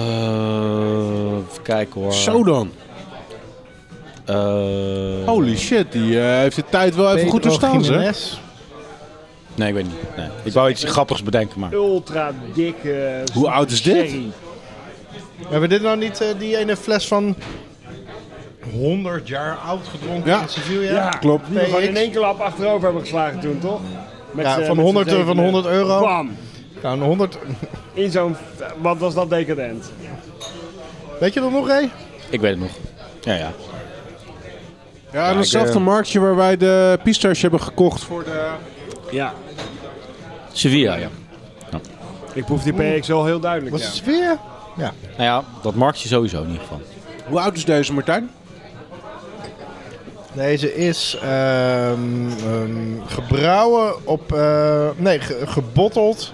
Speaker 1: Eh, even kijken hoor.
Speaker 5: Zo dan.
Speaker 1: Eh,
Speaker 5: Holy shit, die eh, heeft de tijd wel even goed doorstaan, zeg.
Speaker 1: Nee, ik weet niet. Nee. Ik wou iets grappigs bedenken, maar...
Speaker 3: Ultra dikke.
Speaker 5: Hoe oud is dit?
Speaker 3: sherry.
Speaker 2: Hebben we dit nou niet eh, die ene fles van 100 jaar oud gedronken
Speaker 5: Ja.
Speaker 2: in Sevilla?
Speaker 3: Ja,
Speaker 5: klopt.
Speaker 3: Die we gewoon in
Speaker 2: PX.
Speaker 3: één klap achterover hebben geslagen toen, toch? Met
Speaker 2: Ja,
Speaker 3: z'n-
Speaker 2: van
Speaker 3: met
Speaker 2: 100
Speaker 3: z'n
Speaker 2: van
Speaker 3: zevenen.
Speaker 2: 100 euro.
Speaker 3: Bam!
Speaker 2: Nou, een 100.
Speaker 3: In zo'n... Wat was dat decadent?
Speaker 2: Weet je dat nog, Ray?
Speaker 1: Ik weet het nog. Ja, ja.
Speaker 5: Ja,
Speaker 1: ik,
Speaker 5: datzelfde
Speaker 1: eh,
Speaker 5: marktje waar wij de pistache hebben gekocht voor de...
Speaker 3: Ja.
Speaker 1: Sevilla, ja.
Speaker 3: Ik proef die PX wel heel duidelijk.
Speaker 2: Was
Speaker 3: ja.
Speaker 2: het Sevilla?
Speaker 1: Nou ja, dat marktje sowieso in ieder geval.
Speaker 5: Hoe oud is deze, Martijn?
Speaker 2: Deze is ehm, ehm, gebrouwen op. eh, nee, ge- gebotteld.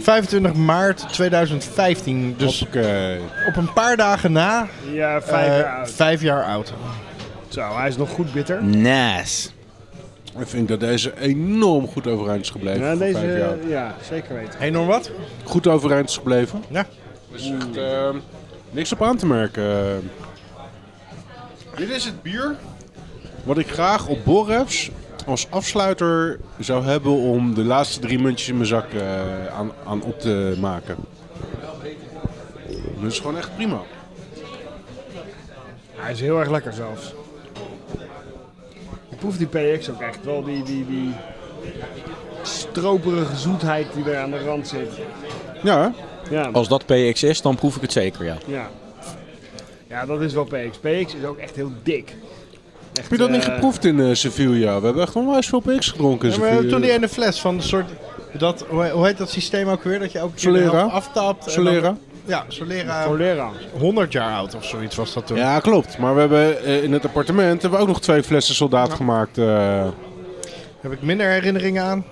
Speaker 2: 25 maart 2015. Dus
Speaker 5: Hoppakee.
Speaker 2: op een paar dagen na.
Speaker 3: Ja, vijf
Speaker 2: eh,
Speaker 3: jaar oud.
Speaker 2: vijf jaar oud.
Speaker 3: Zo, hij is nog goed bitter.
Speaker 1: Nice.
Speaker 5: Ik vind dat deze enorm goed overeind is gebleven.
Speaker 3: Ja,
Speaker 5: voor vijf jaar.
Speaker 3: Nou, deze, ja, zeker weten.
Speaker 2: Enorm wat?
Speaker 5: Goed overeind is gebleven.
Speaker 2: Ja.
Speaker 5: Dus echt, ehm, niks op aan te merken. Dit is het bier wat ik graag op Borrefs als afsluiter zou hebben om de laatste drie muntjes in mijn zak eh, aan, aan op te maken. Dit is gewoon echt prima.
Speaker 3: Hij is heel erg lekker zelfs. Ik proef die PX ook echt wel, die, die, die stroperige zoetheid die er aan de rand zit.
Speaker 5: Ja, hè?
Speaker 3: Ja,
Speaker 5: Oh.
Speaker 1: Als dat PX is, dan proef ik het zeker, ja.
Speaker 3: ja. ja dat is wel PX. PX is ook echt heel dik. Echt,
Speaker 5: heb je dat niet
Speaker 3: eh,
Speaker 5: geproefd in eh, Sevilla? We hebben echt onwijs veel PX gedronken in
Speaker 2: Ja, maar
Speaker 5: Sevilla.
Speaker 2: toen die ene fles van de soort. Dat, hoe hoe heet dat systeem ook weer? Dat je ook
Speaker 5: Solera.
Speaker 2: aftapt. en
Speaker 5: Solera.
Speaker 2: dan- Ja, Solera.
Speaker 3: Cholera.
Speaker 2: 100 jaar oud of zoiets was dat toen.
Speaker 5: Ja, klopt. Maar we hebben eh, in het appartement hebben we ook nog twee flessen soldaat gemaakt. eh.
Speaker 2: Heb ik minder herinneringen aan.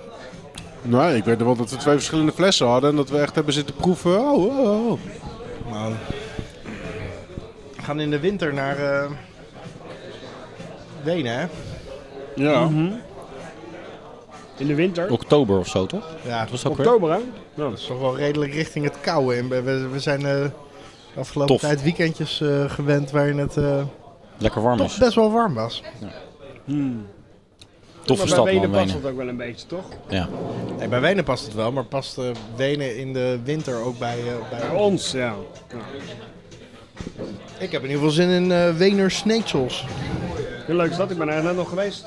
Speaker 5: nou, ik weet wel dat we twee verschillende flessen hadden en dat we echt hebben zitten proeven. Oh, oh, oh.
Speaker 2: Man. We gaan in de winter naar eh, Wenen, hè?
Speaker 5: Ja.
Speaker 3: In de winter.
Speaker 1: Oktober of zo, toch?
Speaker 2: Ja,
Speaker 1: Dat was ook weer...
Speaker 3: Oktober, hè?
Speaker 2: dat is toch wel redelijk richting het koude. En we- we, we zijn eh, de afgelopen
Speaker 1: Tof.
Speaker 2: tijd weekendjes eh, gewend waarin het eh,
Speaker 1: Lekker warm
Speaker 2: toch
Speaker 1: is.
Speaker 2: best wel warm was.
Speaker 1: Toffe
Speaker 3: maar bij
Speaker 1: stad,
Speaker 3: Wenen
Speaker 1: man,
Speaker 3: past
Speaker 1: Wenen.
Speaker 3: dat ook wel een beetje, toch?
Speaker 1: Ja.
Speaker 2: Nee, bij Wenen past het wel, maar past eh, Wenen in de winter ook bij, eh, bij
Speaker 3: Bij ons, ja.
Speaker 2: Oh, Ik heb in ieder geval zin in eh Wener Sneeksels.
Speaker 3: Heel leuk is dat, ik ben er net nog geweest.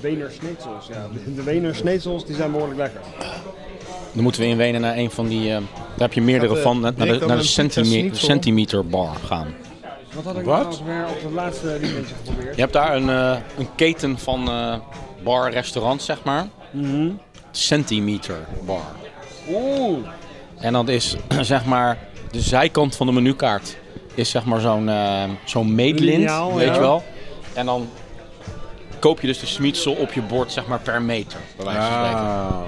Speaker 3: Wener schnitzels, ja. De Wener schnitzels die zijn behoorlijk lekker.
Speaker 1: Dan moeten we in Wenen naar een van die... eh, daar heb je meerdere
Speaker 2: Gaat, eh,
Speaker 1: van. Naar de,
Speaker 2: Rick
Speaker 1: naar
Speaker 2: dan
Speaker 1: de
Speaker 2: een
Speaker 1: centime-
Speaker 2: pizza schnitzel?
Speaker 1: centimeter bar gaan.
Speaker 3: Wat had ik
Speaker 5: Wat?
Speaker 3: nou weer op het laatste liedje geprobeerd?
Speaker 1: Je hebt daar een, eh, een keten van eh bar, restaurants, zeg maar.
Speaker 5: Mhm.
Speaker 1: Centimeter bar.
Speaker 3: Oeh,
Speaker 1: En dat is [clears throat] zeg maar de zijkant van de menukaart. Is zeg maar zo'n eh, zo'n meetlint,
Speaker 3: Liniaal,
Speaker 1: weet
Speaker 3: ja.
Speaker 1: je wel. En dan koop je dus de schmietsel op je bord zeg maar per meter. Bij wijze van spreken.
Speaker 5: Ah.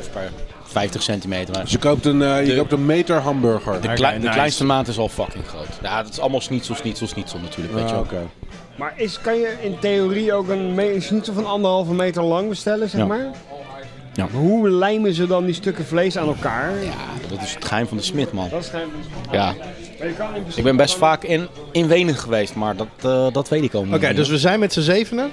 Speaker 1: Of per 50 centimeter. maar
Speaker 5: Dus je koopt een, eh, je
Speaker 1: De-
Speaker 5: koopt een meter hamburger.
Speaker 1: de, klei- de kleinste maat is al fucking groot. Ja, dat is allemaal schnietsel, schnietsel, schnietsel natuurlijk, weet
Speaker 5: Ah,
Speaker 1: je wel.
Speaker 5: oké.
Speaker 3: maar is, kan je in theorie ook een me- een schnitzel van anderhalve meter lang bestellen, zeg
Speaker 1: Ja.
Speaker 3: maar?
Speaker 1: Ja.
Speaker 3: Hoe lijmen ze dan die stukken vlees aan elkaar?
Speaker 1: Ja, dat is het geheim van de smid, man.
Speaker 3: Dat is geen...
Speaker 5: Oh.
Speaker 1: Ja,
Speaker 3: maar je kan in principe
Speaker 1: ik ben best
Speaker 3: gewoon-
Speaker 1: vaak in, in Wenen geweest, maar dat, eh, dat weet ik allemaal
Speaker 2: Oké, dus we zijn met z'n zevenen.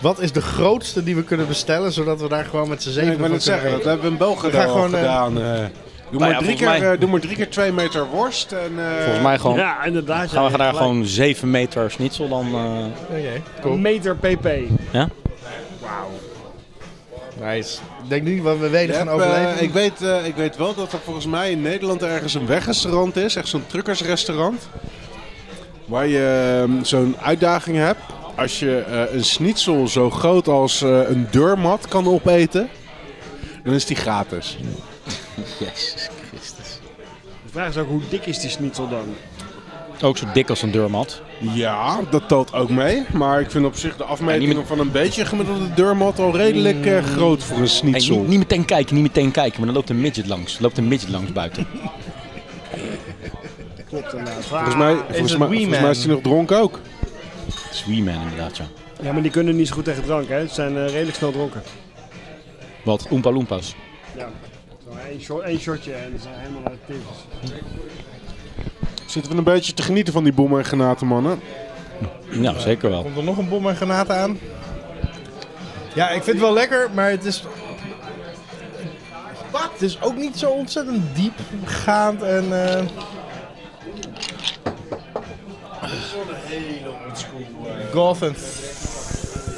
Speaker 2: Wat is de grootste die we kunnen bestellen, zodat we daar gewoon met z'n
Speaker 5: Nee,
Speaker 2: zevenen
Speaker 5: ik wil
Speaker 2: van
Speaker 5: het zeggen, dat
Speaker 2: kunnen
Speaker 5: hebben we in België
Speaker 2: eh, We gaan
Speaker 5: al
Speaker 2: gewoon, eh,
Speaker 5: gedaan. eh. doe, maar
Speaker 1: Nou ja, volgens
Speaker 5: drie keer,
Speaker 1: mij-
Speaker 5: eh, doe maar drie keer twee meter worst. En, eh,
Speaker 1: Volgens mij gewoon,
Speaker 3: Ja, inderdaad.
Speaker 1: gaan we
Speaker 3: ja,
Speaker 1: daar
Speaker 3: gelijk.
Speaker 1: gewoon 7 meter schnitzel dan... eh,
Speaker 2: eten. Oké,
Speaker 3: Een
Speaker 2: cool.
Speaker 3: meter pp.
Speaker 1: Ja?
Speaker 3: Wauw.
Speaker 2: Nice. Ik denk niet wat we weten
Speaker 5: Je
Speaker 2: gaan
Speaker 5: hebt, eh,
Speaker 2: overleven.
Speaker 5: ik, weet, eh, ik weet wel dat er volgens mij in Nederland ergens een wegrestaurant is, echt zo'n truckersrestaurant. Waar je ehm, zo'n uitdaging hebt. Als je eh, een schnitzel zo groot als eh, een deurmat kan opeten, dan is die gratis.
Speaker 1: Jezus Christus.
Speaker 3: De vraag is ook, hoe dik is die schnitzel dan?
Speaker 1: Ook zo dik als een deurmat.
Speaker 5: Ja, dat telt ook mee. Maar ik vind op zich de afmetingen
Speaker 1: Ja, niet Mm.
Speaker 5: van een beetje gemiddelde deurmat al redelijk eh, groot voor een
Speaker 1: Hey,
Speaker 5: schnitzel.
Speaker 1: niet, niet meteen kijken, niet meteen kijken, maar dan loopt een midget langs. Loopt een midget langs [laughs] buiten.
Speaker 3: Klopt inderdaad.
Speaker 5: Volgens mij,
Speaker 3: Ah,
Speaker 5: volgens
Speaker 2: het
Speaker 5: mij,
Speaker 2: Wee
Speaker 5: volgens mij
Speaker 2: Man?
Speaker 5: is hij nog dronken ook.
Speaker 1: Sweeman inderdaad, ja.
Speaker 3: Ja, maar die kunnen niet zo goed tegen drank, hè? Ze zijn eh, redelijk snel dronken.
Speaker 1: Wat? Oompa Loompas.
Speaker 3: Ja. Eén shot, één shotje en ze zijn helemaal uit de tegels.
Speaker 5: Zitten we een beetje te genieten van die bommen en granaten, mannen.
Speaker 1: Nou, zeker wel.
Speaker 2: Komt er nog een bom en granaten aan? Ja, ik vind het wel lekker, maar het is... Wat? Het is ook niet zo ontzettend diepgaand en... eh, Golf en...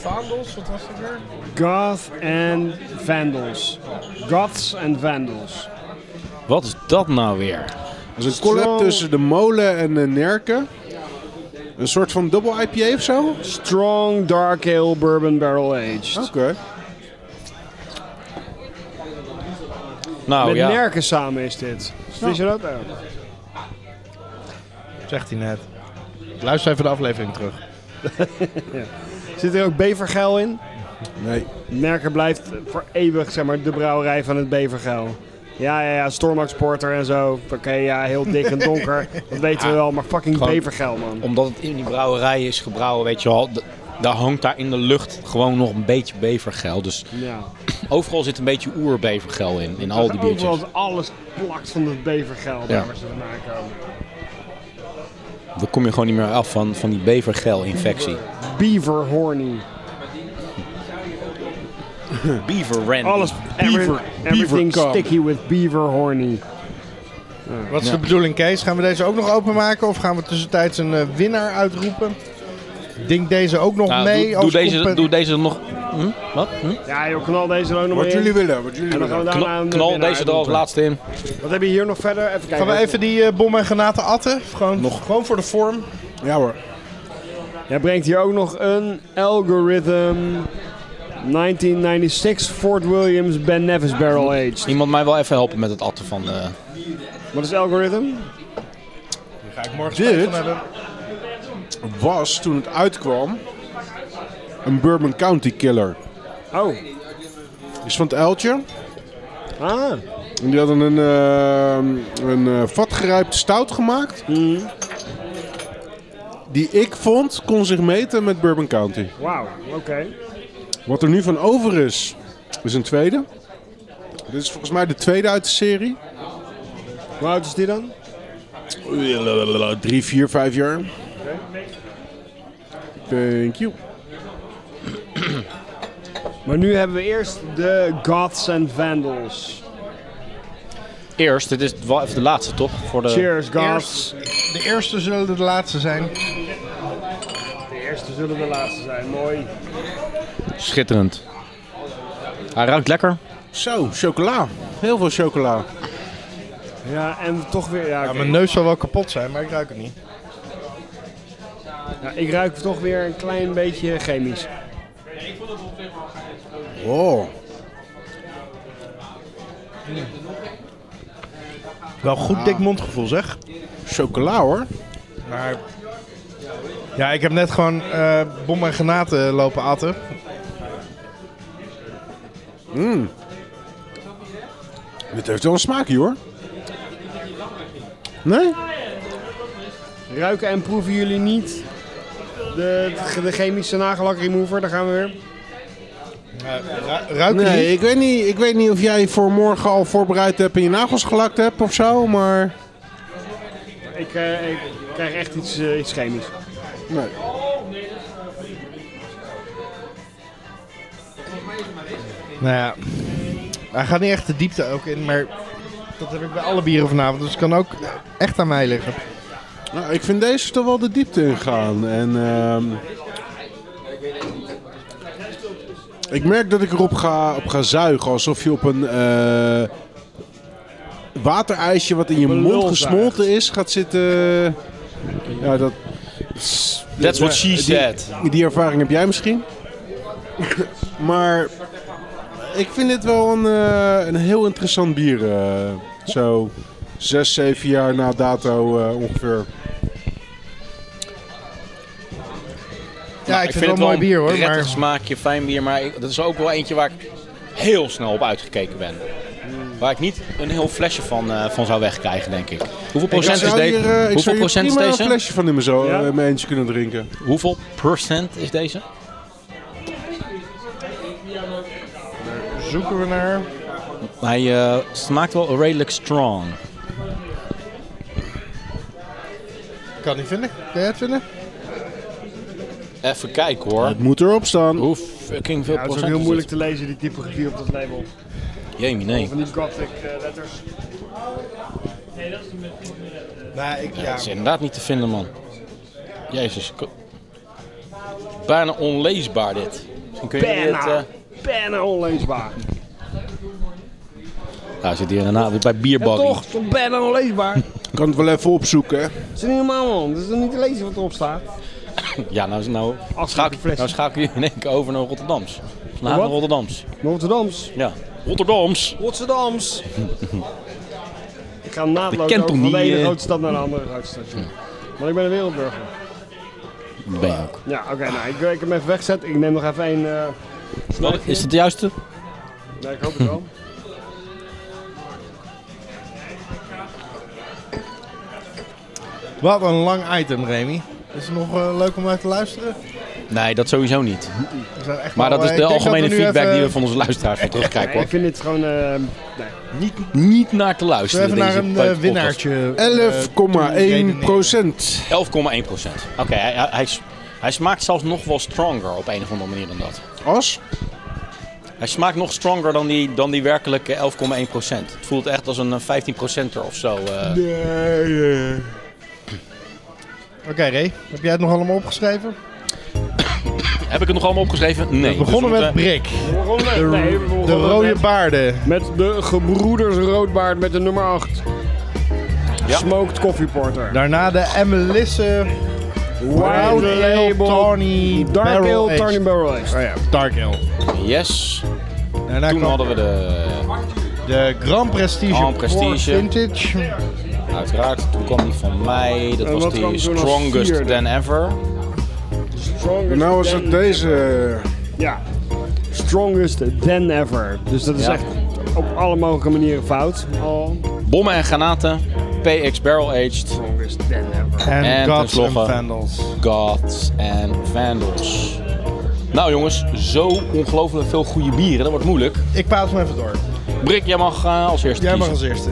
Speaker 2: Vandals, wat was dat weer?
Speaker 3: Goth en Vandals. Goths en Vandals.
Speaker 1: Wat is dat nou weer?
Speaker 5: Dat is een collab tussen de molen en de nerken. Een soort van dubbel IPA of zo? Oké.
Speaker 3: Strong Dark Ale Bourbon Barrel Aged.
Speaker 5: Oh.
Speaker 1: Nou
Speaker 3: Met
Speaker 1: ja,
Speaker 3: Nerken samen is dit. Wist je dat ook?
Speaker 2: Zegt hij net. Luister even de aflevering terug.
Speaker 3: Zit er ook Bevergeil in?
Speaker 5: Nee.
Speaker 3: Nerken blijft voor eeuwig zeg maar, de brouwerij van het Bevergeil. Ja, ja, ja, Stormax Porter en zo. Oké, ja, heel dik en donker. Dat weten we wel, maar fucking
Speaker 1: Gewoon-
Speaker 3: Bevergeil, man.
Speaker 1: omdat het in die brouwerij is gebrouwen, weet je wel, d- daar hangt daar in de lucht gewoon nog een beetje bevergel. Dus
Speaker 3: Ja.
Speaker 1: [clears throat] overal zit een beetje oerbevergel in, in al die
Speaker 3: Overal
Speaker 1: biertjes.
Speaker 3: is alles plakt van het Bevergeil, daar waar ze vandaan komen.
Speaker 1: Dan kom je gewoon niet meer af van, van die bevergel-infectie.
Speaker 3: Beaver horny.
Speaker 1: Beaver Randy.
Speaker 3: Alles, every- everything
Speaker 5: cum.
Speaker 3: sticky with beaver horny.
Speaker 2: Wat is de bedoeling, Kees? Gaan we deze ook nog openmaken of gaan we tussentijds een eh, winnaar uitroepen? Denk deze ook nog
Speaker 1: Nou,
Speaker 2: mee
Speaker 1: doe,
Speaker 2: als
Speaker 1: doe, deze,
Speaker 2: compen-
Speaker 1: doe deze nog... Hm? Wat? Hm?
Speaker 3: Ja joh, knal deze er ook nog maar
Speaker 5: Wat
Speaker 3: in.
Speaker 5: jullie willen, wat jullie
Speaker 3: En dan gaan we
Speaker 5: willen.
Speaker 3: daarna
Speaker 1: Knal,
Speaker 3: een eh,
Speaker 1: knal
Speaker 3: winnaar
Speaker 1: deze er als
Speaker 3: uitroepen.
Speaker 1: laatste in.
Speaker 3: Wat hebben we hier nog verder? Even kijken.
Speaker 2: Gaan we even die eh, bommen en granaten atten? Gewoon, gewoon voor de vorm.
Speaker 5: Ja hoor.
Speaker 3: Jij brengt hier ook nog een algorithm 1996 Fort Williams Ben Nevis Barrel Aged.
Speaker 1: Iemand mij wel even helpen met het atten van... eh,
Speaker 3: Wat is algorithm?
Speaker 2: Ga ik morgen
Speaker 5: spijt van Was toen het uitkwam een Bourbon County Killer.
Speaker 3: Oh,
Speaker 5: Die is van het uiltje.
Speaker 3: ah,
Speaker 5: En Die hadden een, eh, een eh, vatgerijpt stout gemaakt.
Speaker 3: Mhm.
Speaker 5: Die ik vond kon zich meten met Bourbon County.
Speaker 3: wauw, oké.
Speaker 5: Wat er nu van over is, is een tweede. Dit is volgens mij de tweede uit de serie.
Speaker 3: Hoe oud is die dan?
Speaker 5: Drie, vier, vijf jaar. Thank you.
Speaker 3: Maar nu hebben we eerst de Goths and Vandals.
Speaker 1: eerst, dit is wel even de laatste toch? Voor de,
Speaker 3: Cheers,
Speaker 2: Eerst,
Speaker 3: Goths.
Speaker 2: de eerste zullen de laatste zijn.
Speaker 3: De eerste zullen de laatste zijn, mooi.
Speaker 1: Schitterend. Hij ruikt lekker.
Speaker 5: Zo, chocola. Heel veel chocola.
Speaker 3: Ja, en toch weer, ja,
Speaker 2: Ja,
Speaker 3: oké.
Speaker 2: mijn neus zal wel kapot zijn, maar ik ruik het niet.
Speaker 3: Ja, ik ruik toch weer een klein beetje chemisch.
Speaker 5: Oh.
Speaker 2: Wel goed dik mondgevoel zeg.
Speaker 5: Chocola hoor.
Speaker 2: Maar... Ja, ik heb net gewoon eh, bommen en granaten lopen atten.
Speaker 5: Dit heeft wel een smaakje hoor. Nee?
Speaker 3: Ruiken en proeven jullie niet de, de chemische nagelak remover, daar gaan we weer.
Speaker 2: Ruik het
Speaker 5: Nee,
Speaker 2: niet?
Speaker 5: ik weet, niet, ik weet niet of jij voor morgen al voorbereid hebt en je nagels gelakt hebt of zo, maar...
Speaker 3: Ik, eh, ik krijg echt iets, eh, iets chemisch.
Speaker 5: Nee.
Speaker 2: Nou ja, hij gaat niet echt de diepte ook in, maar dat heb ik bij alle bieren vanavond. Dus het kan ook echt aan mij liggen.
Speaker 5: Nou, ik vind deze toch wel de diepte in gaan. En, ehm, ik merk dat ik erop ga, op ga zuigen. Alsof je op een eh, waterijsje wat in je
Speaker 3: een
Speaker 5: mond
Speaker 3: lul
Speaker 5: gesmolten is gaat zitten. Ja, dat, is-
Speaker 1: That's what she
Speaker 5: die-
Speaker 1: said.
Speaker 5: Die ervaring heb jij misschien. [laughs] maar ik vind dit wel een, eh, een heel interessant bier. eh, zo zes, zeven jaar na dato eh, ongeveer.
Speaker 2: Ja, Nou, ik, vind het wel
Speaker 1: een
Speaker 2: een mooi bier hoor,
Speaker 1: prettig
Speaker 2: maar...
Speaker 1: smaakje, fijn bier. Maar ik- dat is ook wel eentje waar ik heel snel op uitgekeken ben. Waar ik niet een heel flesje van, eh, van zou wegkrijgen, denk ik. Hoeveel
Speaker 5: Ik
Speaker 1: procent is
Speaker 5: zou hier, eh,
Speaker 1: deze?
Speaker 5: ik
Speaker 1: Hoeveel
Speaker 5: zou hier
Speaker 1: procent is
Speaker 5: prima een
Speaker 1: deze?
Speaker 5: flesje van in mijn, zo,
Speaker 3: Ja?
Speaker 5: in mijn eentje kunnen drinken.
Speaker 1: Hoeveel procent is deze?
Speaker 2: zoeken we naar.
Speaker 1: Hij eh, smaakt wel redelijk strong.
Speaker 2: Kan niet vinden. Kan jij het vinden?
Speaker 1: Even kijken hoor.
Speaker 5: Het moet erop staan.
Speaker 1: Hoe fucking veel
Speaker 3: Ja, het is ook heel moeilijk te lezen, die typografie op dat label.
Speaker 1: Jamie, nee.
Speaker 3: Van die gothic eh, letters.
Speaker 2: Nee, ik, ja.
Speaker 1: Dat is inderdaad niet te vinden, man. Jezus. ik- Bijna onleesbaar dit. Misschien kun je dit... eh,
Speaker 3: Bijna. Bijna nou, onleesbaar.
Speaker 1: Nou, zit hier daarna weer bij
Speaker 3: Ja,
Speaker 1: Bierbaggy.
Speaker 3: toch, toch bijna
Speaker 1: [laughs]
Speaker 3: onleesbaar.
Speaker 5: Ik kan het wel even opzoeken. hè.
Speaker 3: Het is niet normaal man, het is toch niet te lezen wat erop staat.
Speaker 1: Ja, nou, nou,
Speaker 3: Als
Speaker 1: schakel,
Speaker 3: fles.
Speaker 1: nou schakel je in één keer over naar Rotterdams. Naar
Speaker 3: Wat?
Speaker 1: Rotterdams.
Speaker 3: Rotterdams.
Speaker 1: Ja. Rotterdams.
Speaker 3: Rotterdams. ik ga
Speaker 1: Ik
Speaker 3: naadloos
Speaker 1: ken
Speaker 3: over
Speaker 1: toch
Speaker 3: van de
Speaker 1: niet,
Speaker 3: ene
Speaker 1: eh.
Speaker 3: grote stad naar de andere grote stad. joh. Want ik ben een wereldburger.
Speaker 1: Ben je ook.
Speaker 3: Ja, oké, nou, ik, ik heb hem even weggezet. Ik neem nog even één. eh, snuifje.
Speaker 1: Is dat de juiste?
Speaker 3: Nee, ik
Speaker 1: [laughs]
Speaker 3: hoop het wel.
Speaker 2: Wat een lang item, Remy. Is het nog eh, leuk om naar te luisteren?
Speaker 1: Nee, dat sowieso niet.
Speaker 2: We zijn echt
Speaker 1: Maar
Speaker 2: wel,
Speaker 1: dat
Speaker 3: Oh,
Speaker 1: is
Speaker 2: eh,
Speaker 1: de
Speaker 2: ik denk
Speaker 1: algemene
Speaker 2: dat we nu
Speaker 1: feedback
Speaker 2: even-
Speaker 1: die we van onze luisteraars van terugkijken.
Speaker 3: Nee, ik
Speaker 1: Hoor.
Speaker 3: vind dit gewoon. eh, nee.
Speaker 1: Niet, niet naar te luisteren.
Speaker 2: Zullen we even naar
Speaker 1: deze
Speaker 2: een eh,
Speaker 1: podcast.
Speaker 2: winnaartje. eh,
Speaker 5: 11,1 procent.
Speaker 1: 11,1 procent. Oké, hij, hij, hij, s- hij smaakt zelfs nog wel stronger op een of andere manier dan dat.
Speaker 5: As?
Speaker 1: Hij smaakt nog stronger dan die, dan die werkelijke 11,1 procent. Het voelt echt als een eh, 15 procenter of zo. eh.
Speaker 2: Oké, Ray, heb jij het nog allemaal opgeschreven?
Speaker 1: Heb ik het nog allemaal opgeschreven? Nee.
Speaker 2: We begonnen
Speaker 1: Dus
Speaker 2: met
Speaker 1: moeten-
Speaker 2: Brik,
Speaker 3: De, nee, we
Speaker 2: de
Speaker 3: begonnen
Speaker 2: rode
Speaker 3: met-
Speaker 2: baarden.
Speaker 3: Met de gebroeders Roodbaard met de nummer 8.
Speaker 1: Ja.
Speaker 3: Smoked Coffee Porter.
Speaker 2: Daarna de Emelisse Wild Ale Tawny
Speaker 3: Dark
Speaker 2: Barrel
Speaker 3: Ale Tawny
Speaker 2: Aged.
Speaker 3: Barrel Aged.
Speaker 2: Oh ja, Dark Ale.
Speaker 1: Yes.
Speaker 2: Daarna
Speaker 1: Toen
Speaker 2: kwam
Speaker 1: hadden we de...
Speaker 2: de Grand Prestige,
Speaker 1: Grand
Speaker 2: Port
Speaker 1: Prestige.
Speaker 2: Vintage.
Speaker 1: Uiteraard, toen kwam die van mij. Dat
Speaker 3: En
Speaker 1: was
Speaker 3: wat kwam
Speaker 1: die
Speaker 3: toen als
Speaker 1: strongest
Speaker 3: vierde?
Speaker 1: than ever.
Speaker 3: Strongest
Speaker 5: Nou is
Speaker 3: than-
Speaker 5: het deze.
Speaker 3: Ja. Strongest than ever. Dus dat is
Speaker 1: Ja.
Speaker 3: echt op alle mogelijke manieren fout. Al.
Speaker 1: Bommen en granaten. PX Barrel Aged.
Speaker 3: Strongest than ever.
Speaker 2: En
Speaker 1: En
Speaker 2: Gods and
Speaker 1: tenslotte-
Speaker 2: Vandals.
Speaker 1: Gods en Vandals. Nou jongens, zo ongelooflijk veel goede bieren. Dat wordt moeilijk.
Speaker 2: Ik paas hem even door.
Speaker 1: Brik, jij mag eh, als eerste
Speaker 2: Jij mag
Speaker 1: kiezen.
Speaker 2: als eerste.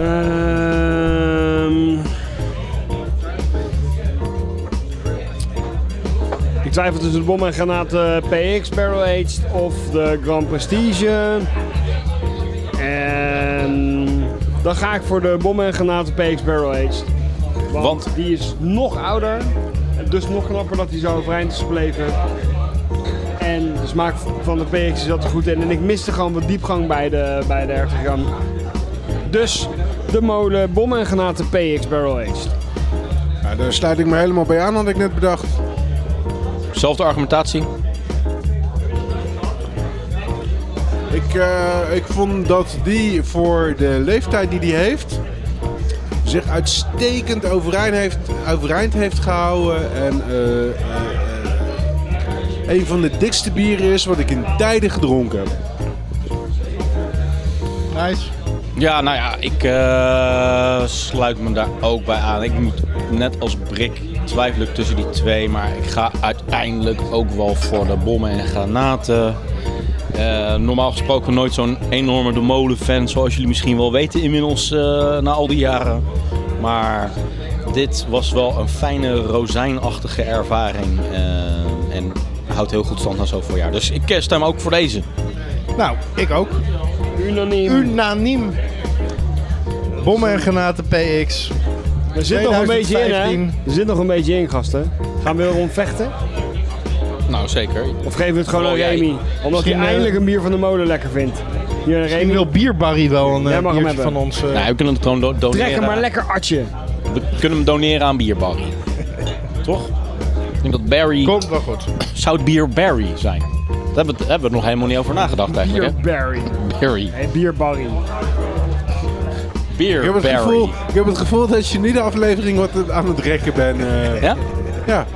Speaker 3: Ehm. ik twijfel tussen de bom en granaten PX Barrel Aged of de Grand Prestige. En dan ga ik voor de bom en granaten PX Barrel Aged. Want,
Speaker 1: Want?
Speaker 3: die is nog ouder. en Dus nog knapper dat hij zo overeind is gebleven. En de smaak van de PX zat er goed in. En ik miste gewoon wat diepgang bij de, bij de hertogram. Dus de molen bom en granaten PX Barrel Aged.
Speaker 5: Ja, daar sluit ik me helemaal bij aan, had ik net bedacht.
Speaker 1: Zelfde argumentatie.
Speaker 5: Ik, eh, ik vond dat die voor de leeftijd die die heeft, zich uitstekend overeind heeft, overeind heeft gehouden. En eh, eh, eh, een van de dikste bieren is wat ik in tijden gedronken heb.
Speaker 2: Nice.
Speaker 1: Ja, nou ja, ik eh, sluit me daar ook bij aan. Ik moet net als Brik twijfel ik tussen die twee, maar ik ga uiteindelijk ook wel voor de bommen en granaten. Eh, normaal gesproken nooit zo'n enorme De Molen-fan, zoals jullie misschien wel weten inmiddels eh, na al die jaren. Maar dit was wel een fijne rozijnachtige ervaring eh, en houdt heel goed stand na zoveel jaar. Dus ik eh, stem ook voor deze.
Speaker 2: Nou, ik ook.
Speaker 3: Unaniem.
Speaker 2: Unaniem. Bommen en granaten PX.
Speaker 3: er zit nog een beetje in, hè?
Speaker 2: 2015.
Speaker 3: Er zit nog een beetje in, gasten. Gaan we erom vechten?
Speaker 1: Nou, zeker.
Speaker 3: Of geven we het gewoon
Speaker 1: Oh,
Speaker 3: aan
Speaker 1: ja,
Speaker 3: Remy? Omdat hij
Speaker 2: misschien, eh,
Speaker 3: eindelijk een bier van de molen lekker vindt. Hier,
Speaker 2: Ik
Speaker 3: Remy,
Speaker 2: wil Bierbarry wel een
Speaker 3: Jij
Speaker 2: eh,
Speaker 3: mag hem
Speaker 2: biertje
Speaker 3: hebben.
Speaker 2: van ons. eh,
Speaker 1: Nou, we kunnen het gewoon do- doneren.
Speaker 3: trek hem maar lekker atje.
Speaker 1: We kunnen hem doneren aan Bierbarry. Toch? Ik denk dat Barry...
Speaker 2: Komt wel goed.
Speaker 1: Zou het bier Barry zijn? Daar hebben, we- daar hebben we nog helemaal niet over nagedacht eigenlijk. Hè?
Speaker 3: Bierberry.
Speaker 1: Barry.
Speaker 3: Hey, bierbarry.
Speaker 5: Ik
Speaker 1: Beer
Speaker 5: heb, het
Speaker 1: Barry.
Speaker 5: gevoel, ik heb het gevoel dat je nu de aflevering wat aan het rekken bent. eh.
Speaker 1: Ja?
Speaker 5: ja.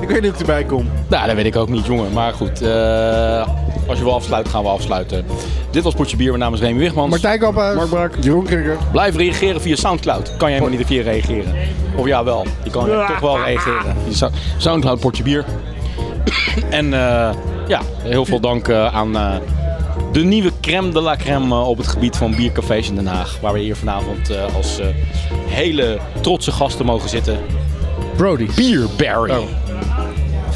Speaker 5: Ik weet niet hoe ik erbij kom.
Speaker 1: Nou, dat weet ik ook niet, jongen. Maar goed, eh, als je wil afsluiten, gaan we afsluiten. Dit was Potje Bier. Mijn naam is Remy Wichmans.
Speaker 2: Martijn Kamphuis.
Speaker 5: Mark Brak, Jeroen Krikker.
Speaker 1: Blijf reageren via Soundcloud. Kan je helemaal niet via reageren. Of ja, wel. Je kan toch wel reageren. Via Sou- Soundcloud, [coughs] Potje Bier. en eh, ja, heel veel dank eh, aan eh, de nieuwe crème de la crème eh, op het gebied van biercafés in Den Haag. Waar we hier vanavond eh, als eh, hele trotse gasten mogen zitten.
Speaker 2: Brody.
Speaker 1: Beer Barry.